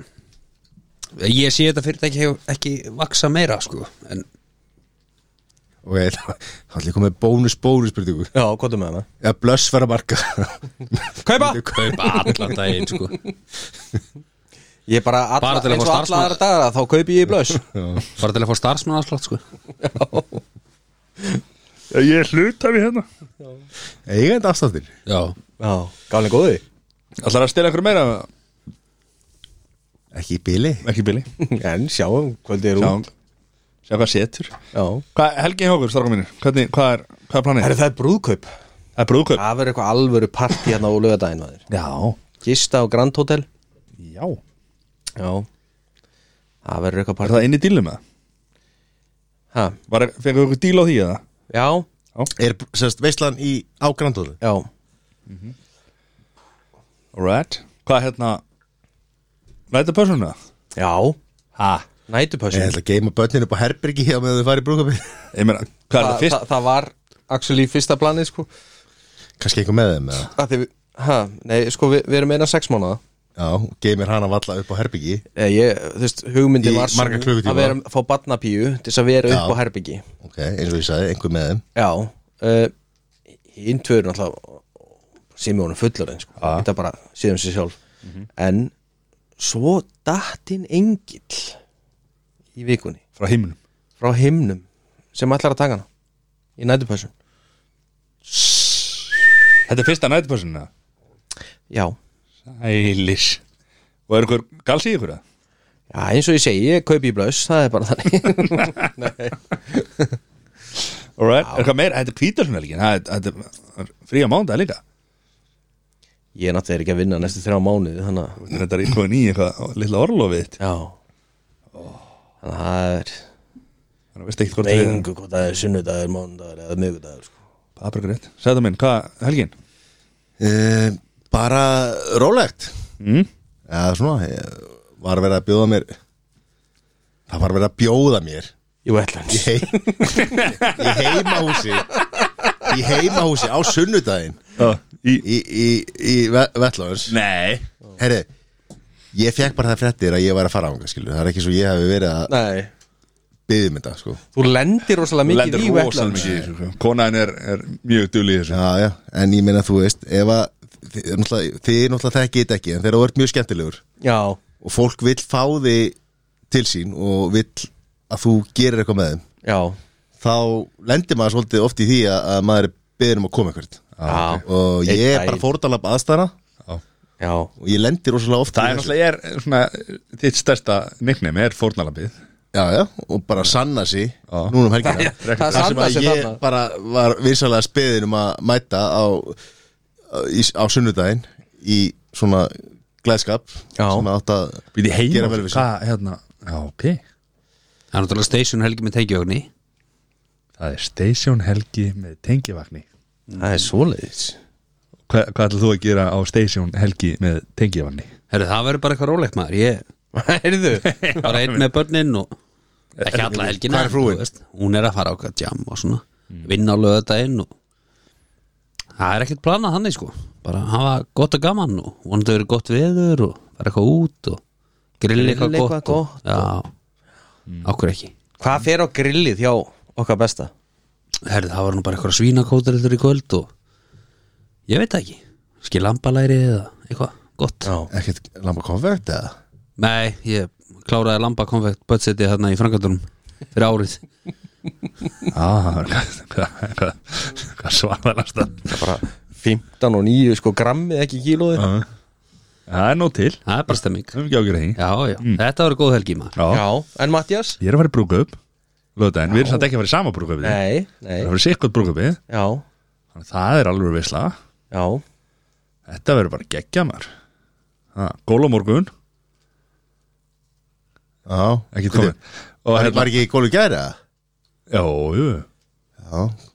C: Ég sé þetta fyrirtæki ekki, ekki vaksa meira sko En
D: og ég þá ætlum ég komið bónus bónus spurningu
B: Já, hvað er með hana?
D: eða blöss vera marka
B: Kaupa!
C: kaupa allan daginn sko.
B: Ég bara, alla,
C: Bara til að
B: eins
C: fá
B: og alla
C: starfsmann-
B: aðra dagar þá kaupi ég í blöss
C: bara til að fá starfsmannarslótt sko.
A: Ég er hluta við hérna
D: eigandi afstáttir
C: já,
B: Já, gálinni góði
A: Ætlar að stela einhverju meira?
D: ekki í bíli
A: Ekki bíli
B: En sjáum kvöldið er
A: Sjá
B: út
A: sjá hvað setur
B: Já
A: Hvað, Helgi Hókur, strákum mínir Hvernig, hvað er, hvað er planið?
B: Herru, það er brúðkaup
A: Það er brúðkaup
B: Það verður eitthvað alvöru partí hérna á lögadaginn maður.
A: Já
B: Gista á Grand Hotel
A: Já Er
B: Já Það verður eitthvað partí
A: það inn í dílu með það?
B: ha.
A: Var, fengið ykkur díl á því eða?
B: Já,
D: er sérst veislan í ágrandóðu
B: já
A: Alright Hvað hérna Læta persónu það?
B: Já,
A: Ha?
D: ég
B: nætupössun
D: ætla að geima börnin upp á herbyrgi hjá með þau farið brúkapi
A: Ég meina, hvað er
B: Þa,
A: það fyrst?
B: það, það var actually fyrsta planið sko
D: kannski einhver með þeim eða
B: að því við, ha, nei, sko við, við erum eina sex mánuða
D: já, geimir hana valla upp á herbyrgi
B: Eh, ég, þú veist, hugmyndin
D: Í
B: var
D: marga klukkutíma.
B: að vera, fá barnapíu til þess að vera
D: Já.
B: upp á herbyggi
D: ok, eins og ég sagði, einhver með þeim
B: já uh, hinn tvöður náttúrulega sem ég honum fullur sko. þetta bara síðan sér sjálf
D: Mhm.
B: en svo dattinn engill í vikunni
A: Frá himnum
B: frá himnum sem ætlar að taka hana í nætupössun
A: Þetta er fyrsta næta persónu það?
B: já,
A: Ælis Og er ykkur gals í ykkur það?
B: já eins og ég segi, ég kaupi í blöss það er bara þannig
A: Alright, er eitthvað meira? Þetta er kvítarsunarleikin Þetta er frí á mánda líka
B: ég er náttúrulega ekki að vinna næstu þrjá mánuði þannig að
A: Þetta er íkvæðin í eitthvað Lilla orlofið þitt.
B: Já Þannig að það er
A: Þannig að veist ekki hvort
B: með
A: það er
B: engu hvort það er sunnudagur, mánudagur eða miðgudagur sko.
A: Paprikur rétt Sæða minn, hvað, Helgin?
D: uh, bara rólegt
A: Mm?
D: já, svona, ég var að vera að bjóða mér það var að vera að bjóða mér
B: Jú, ætlans
D: í, hei, í heimahúsi í heimahúsi á sunnudaginn
A: Uh, í,
D: í, í, í Vettlóðins
A: Nei
D: herri, ég fekk bara það fréttir að ég var að fara ánga skilu, það er ekki svo ég hafi verið að
B: Nei,
D: byggja mynda sko.
B: þú lendir rosalega
A: Þú
B: mikið
A: lendir
B: í
A: rosalega
B: vettlands.
A: mikið í þessu sko. Konan er, er mjög dul í þessu
D: já, já, en ég meina þú veist ef að, þið er náttúrulega, þið er náttúrulega þekkið þetta ekki, en þeir eru verið mjög skemmtilegur
B: Já,
D: og fólk vill fá þig til sín og vill að þú gerir eitthvað með þeim
B: já,
D: þá lendir maður svolítið oft í því að, að maður er beðin um að koma eitthvað
B: Já.
D: og
B: Einn
D: ég er bara
B: daginn.
D: fórtalab aðstæðna
B: já
D: og ég lendir rosalega oft
A: Það
D: í
A: er
D: þessu.
A: náttúrulega, ég er svona Þitt stærsta nickname er fórnalambið
D: já, já, og bara sanna sig núna um helgina
B: Það- það
D: Þar sem
B: sanna
D: að
B: sig
D: ég
B: þarna.
D: bara var vinsalega speðin um að mæta á, í, á sunnudaginn í svona glæðskap
B: Já.
D: sem að átt að
A: Býði
D: Gera
A: heima
D: vel við sig.
A: Hvað, hérna Já, ok
C: það er náttúrulega station helgi með tengjövagni
A: Það er Station Helgi með tengivagni
B: Það er svoleiðis
A: Hva, Hvað ætlar þú að gera á Station Helgi með tengivagni?
C: Herru, það verður bara eitthvað rólegt maður ég
B: Heyrðu
C: var einn með börnin og ekki alla helgina
D: Hvar er frúin?
C: en, þú veist, hún er að fara á eitthvað jam og svona vinna á lögadaginn og það er ekkert planað þannig sko bara hafa gott og gaman og vonandi verið gott veður og fara eitthvað út og grilla eitthvað,
B: Grilla eitthvað
C: gott, og, já, okkur ekki
B: Hvað fer á grillið hjá okkar besta?
C: Herri, það var nú bara eitthvað svínakótarildur í kvöld og ég veit það ekki skil lambalæri eða eitthvað gott
B: Já,
D: ekkert lamba konfekt eða
C: Nei, ég kláraði lambakonfekt budgeti þarna í frangatunum fyrir árið
A: Ah, hvað, hvað, hvað, hvað svarðalast það?
B: það er bara 15 og 9 sko grammið ekki kílóði
A: Það er nóg til
C: Það er bara stemming
A: Það er ekki ágjur að því
C: Já, já, þetta var góð helgi maður
A: Já
B: Já, en Mattias?
A: Ég er að fara í brúkup Löðdæn, við erum samt ekki að fara í sama brúkupið
B: Nei, nei,
A: Það verður sikkert brúkupið
B: já,
A: Þannig að það er alveg veisla
B: já
A: Þetta verður bara geggja maður Ha, Góla morgun,
D: já,
A: ekki
D: Hvernig-
A: komin Og
D: var,
A: hérna
D: var ekki í gólu gæra
A: Jó, jú,
D: já,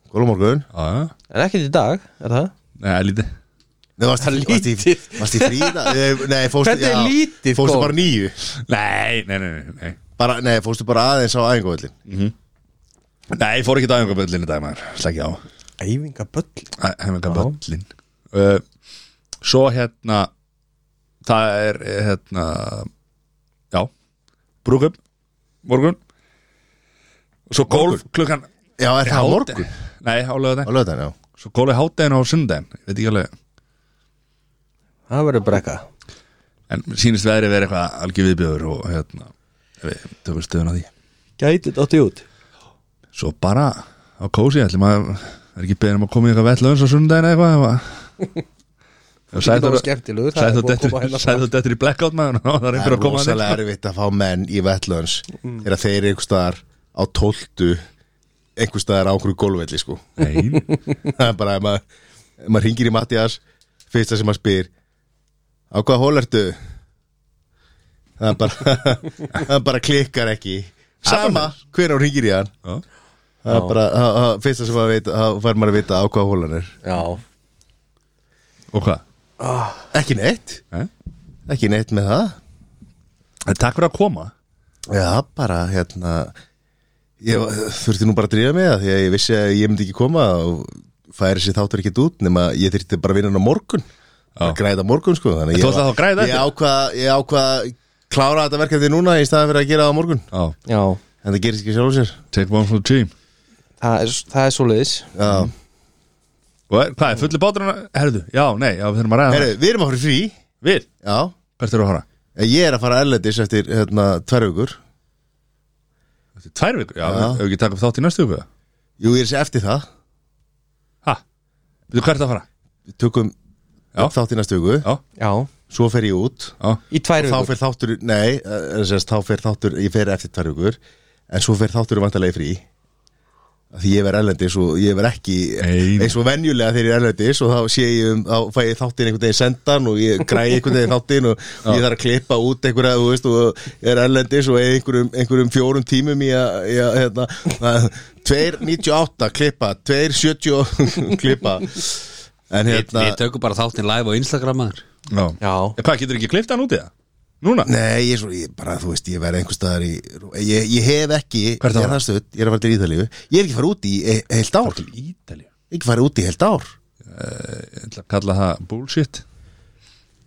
D: gólu morgun
A: aða
B: En ekkert í dag, er það?
A: Nei, lítið
D: Nei, varst,
B: Það er
D: varst, í,
B: lítið.
D: varst í fríða Nei, fórstu,
B: Þetta er lítið,
D: Fórstu
B: sko.
D: bara nýju
A: Nei, nei, nei, nei, nei
D: bara, Nei, fórstu bara aðeins á æfingavöllin
A: Nei, ég fór ekki dæfingaböllin í dag maður Slækki á
B: Æfinga böll
A: Dæfingaböllin uh, Svo hérna Það er eh, hérna Já Brúkum Morgun Og svo golf klukkan
D: Já, er það á morgun?
A: Nei, á
D: Á
A: lögadaginn
D: lögðan, já
A: Svo kóla í hátdeginn á sundaginn Ég Veit ekki alveg
B: Það verður brekka
A: En sýnist veðri verið eitthvað algjör viðbjöður Og hérna Við tökum stöðun á því
B: Gæti þetta átti út
A: Svo bara á kósi ætlum að Er ekki beðin um að koma í eitthvað vell á sundaginn eða eitthvað ef að- Ef
B: Þetta var
A: Sæþór-
B: skemmtilegur það
A: Sæð
B: er
A: þú
B: búið að
A: dettur-
B: koma hérna
A: sæð þú dettur í blackout maður og það er
D: Það
A: einhver að
D: er
A: Mm. koma að
D: rosalega erfitt að fá menn í vettlöns Þegar þeir eru einhvers staðar á tóltu Einhvers staðar á okkur gólvelli sko
A: Nei,
D: Það er bara að maður ef Maður hringir í Mattias Fyrsta sem maður spyr Á hvað hól ertu? Það er bara Það bara klikkar ekki Sama, hver á hringir í hann
A: Já.
D: Það er bara það- það- Fyrsta sem maður veit Það fær maður að vita á hvað hól hann er
B: Já
A: og hvað?
D: Ekki neitt
A: Nei?
D: Ekki neitt með það
A: En Takk fyrir að koma
D: Já, bara hérna Ég var- þurfti nú bara að drífa mig það Því að ég vissi að ég myndi ekki koma og færi sér þáttur ekkert út nema ég þyrfti bara að vinna hann á morgun
A: Já.
D: að græða morgun sko Þannig
A: En
D: ég
A: þú ætlaði
D: var-
A: þá að græða
D: Ég
A: þetta?
D: ákvað, ég ákvað að klára þetta verkefni núna í staðan fyrir að gera það á morgun
A: Já,
B: Já
D: En það gerist ekki sjálf sér
A: take one for the team
B: Það er, það er svoleiðis
D: Já,
A: Mm. Og er, hvað er fulli báturinn? Herðu, já, nei, já, við þurfum að ræða
D: herru, við erum að fara í frí
A: það Við,
D: Já,
A: hvert eru að fara?
D: ég er að fara erlendis eftir hérna, tvær vikur
A: Eftir tvær vikur, já,
D: Já.
A: já. hefur ekki taka upp þátt í næstu viku eða?
D: Jú, ég er sér eftir það
A: Ha, veitu hvert að fara?
D: Við tökum
A: Já.
D: upp þátt í næstu viku
A: Já,
B: Já
D: Svo fer ég út
A: já,
B: Í tvær
D: þá
B: vikur
D: fer þáttur, nei eh, sem sagt, þá fer þáttur, ég fer eftir tvær vikur en svo fer þáttur vantarlega frí Af því ég verð erlendis og ég verð ekki
A: Nei.
D: eins og venjulega þegar ég er erlendis og þá sé ég um, þá fæ ég þáttinn einhvern veginn sendan og ég græði einhvern veginn þáttinn og ég þarf að klippa út einhverja þú veist, og ég er erlendis og eða einhverjum, einhverjum fjórum tímum í að, í að hérna, að 2.98 klippa 2.70 klippa en
C: Við,
D: hérna
C: við tökum bara þáttinn live á Instagram maður
A: já
B: Já
A: En Hvað, getur ekki klift hann út í það? Núna?
D: Nei, ég er svo, ég, bara, þú veist, ég verði einhver staðar í Ég, ég hef ekki,
A: Hvert
D: ég
A: ára?
D: er það stödd, ég er að fara til Ítalíu Ég hef ekki farið út í e heilt ár
A: Til Ítalíu
D: Ekki farið út í heilt ár
A: Ég ætla að kalla það bullshit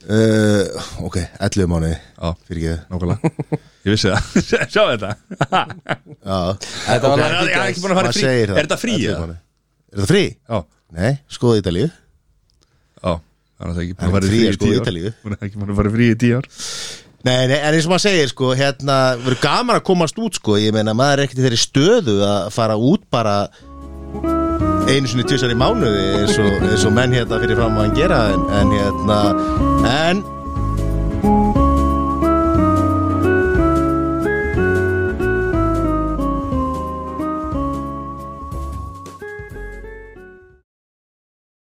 D: uh, Ok, 11 mánuði
A: Já,
D: Fyrir ekki
A: nákvæmlega Ég vissi það, sjá þetta
D: það Já,
B: Þetta var
A: Ég er ekki búin að fara í
D: maður
A: frí
D: segir
A: Er þetta frí
D: 11
A: eða?
D: mánuði. Er þetta frí?
A: Já,
D: Nei, skoða Ítalíu
A: já Þannig að það er ekki búin
D: Það
A: að
D: er
A: fara í
D: frí,
A: frí í
D: sko,
A: tíu
D: Ítalíu.
A: ár Hún er ekki búin að fara í frí í tíu ár
D: Nei, nei, en eins og maður segir, sko, hérna Verður gaman að komast út, sko Ég meina, maður er ekkert í þeirri stöðu að fara út bara einu sinni tvisar í mánuði eins og, eins og menn hérna fyrir fram að hann gera en, en hérna en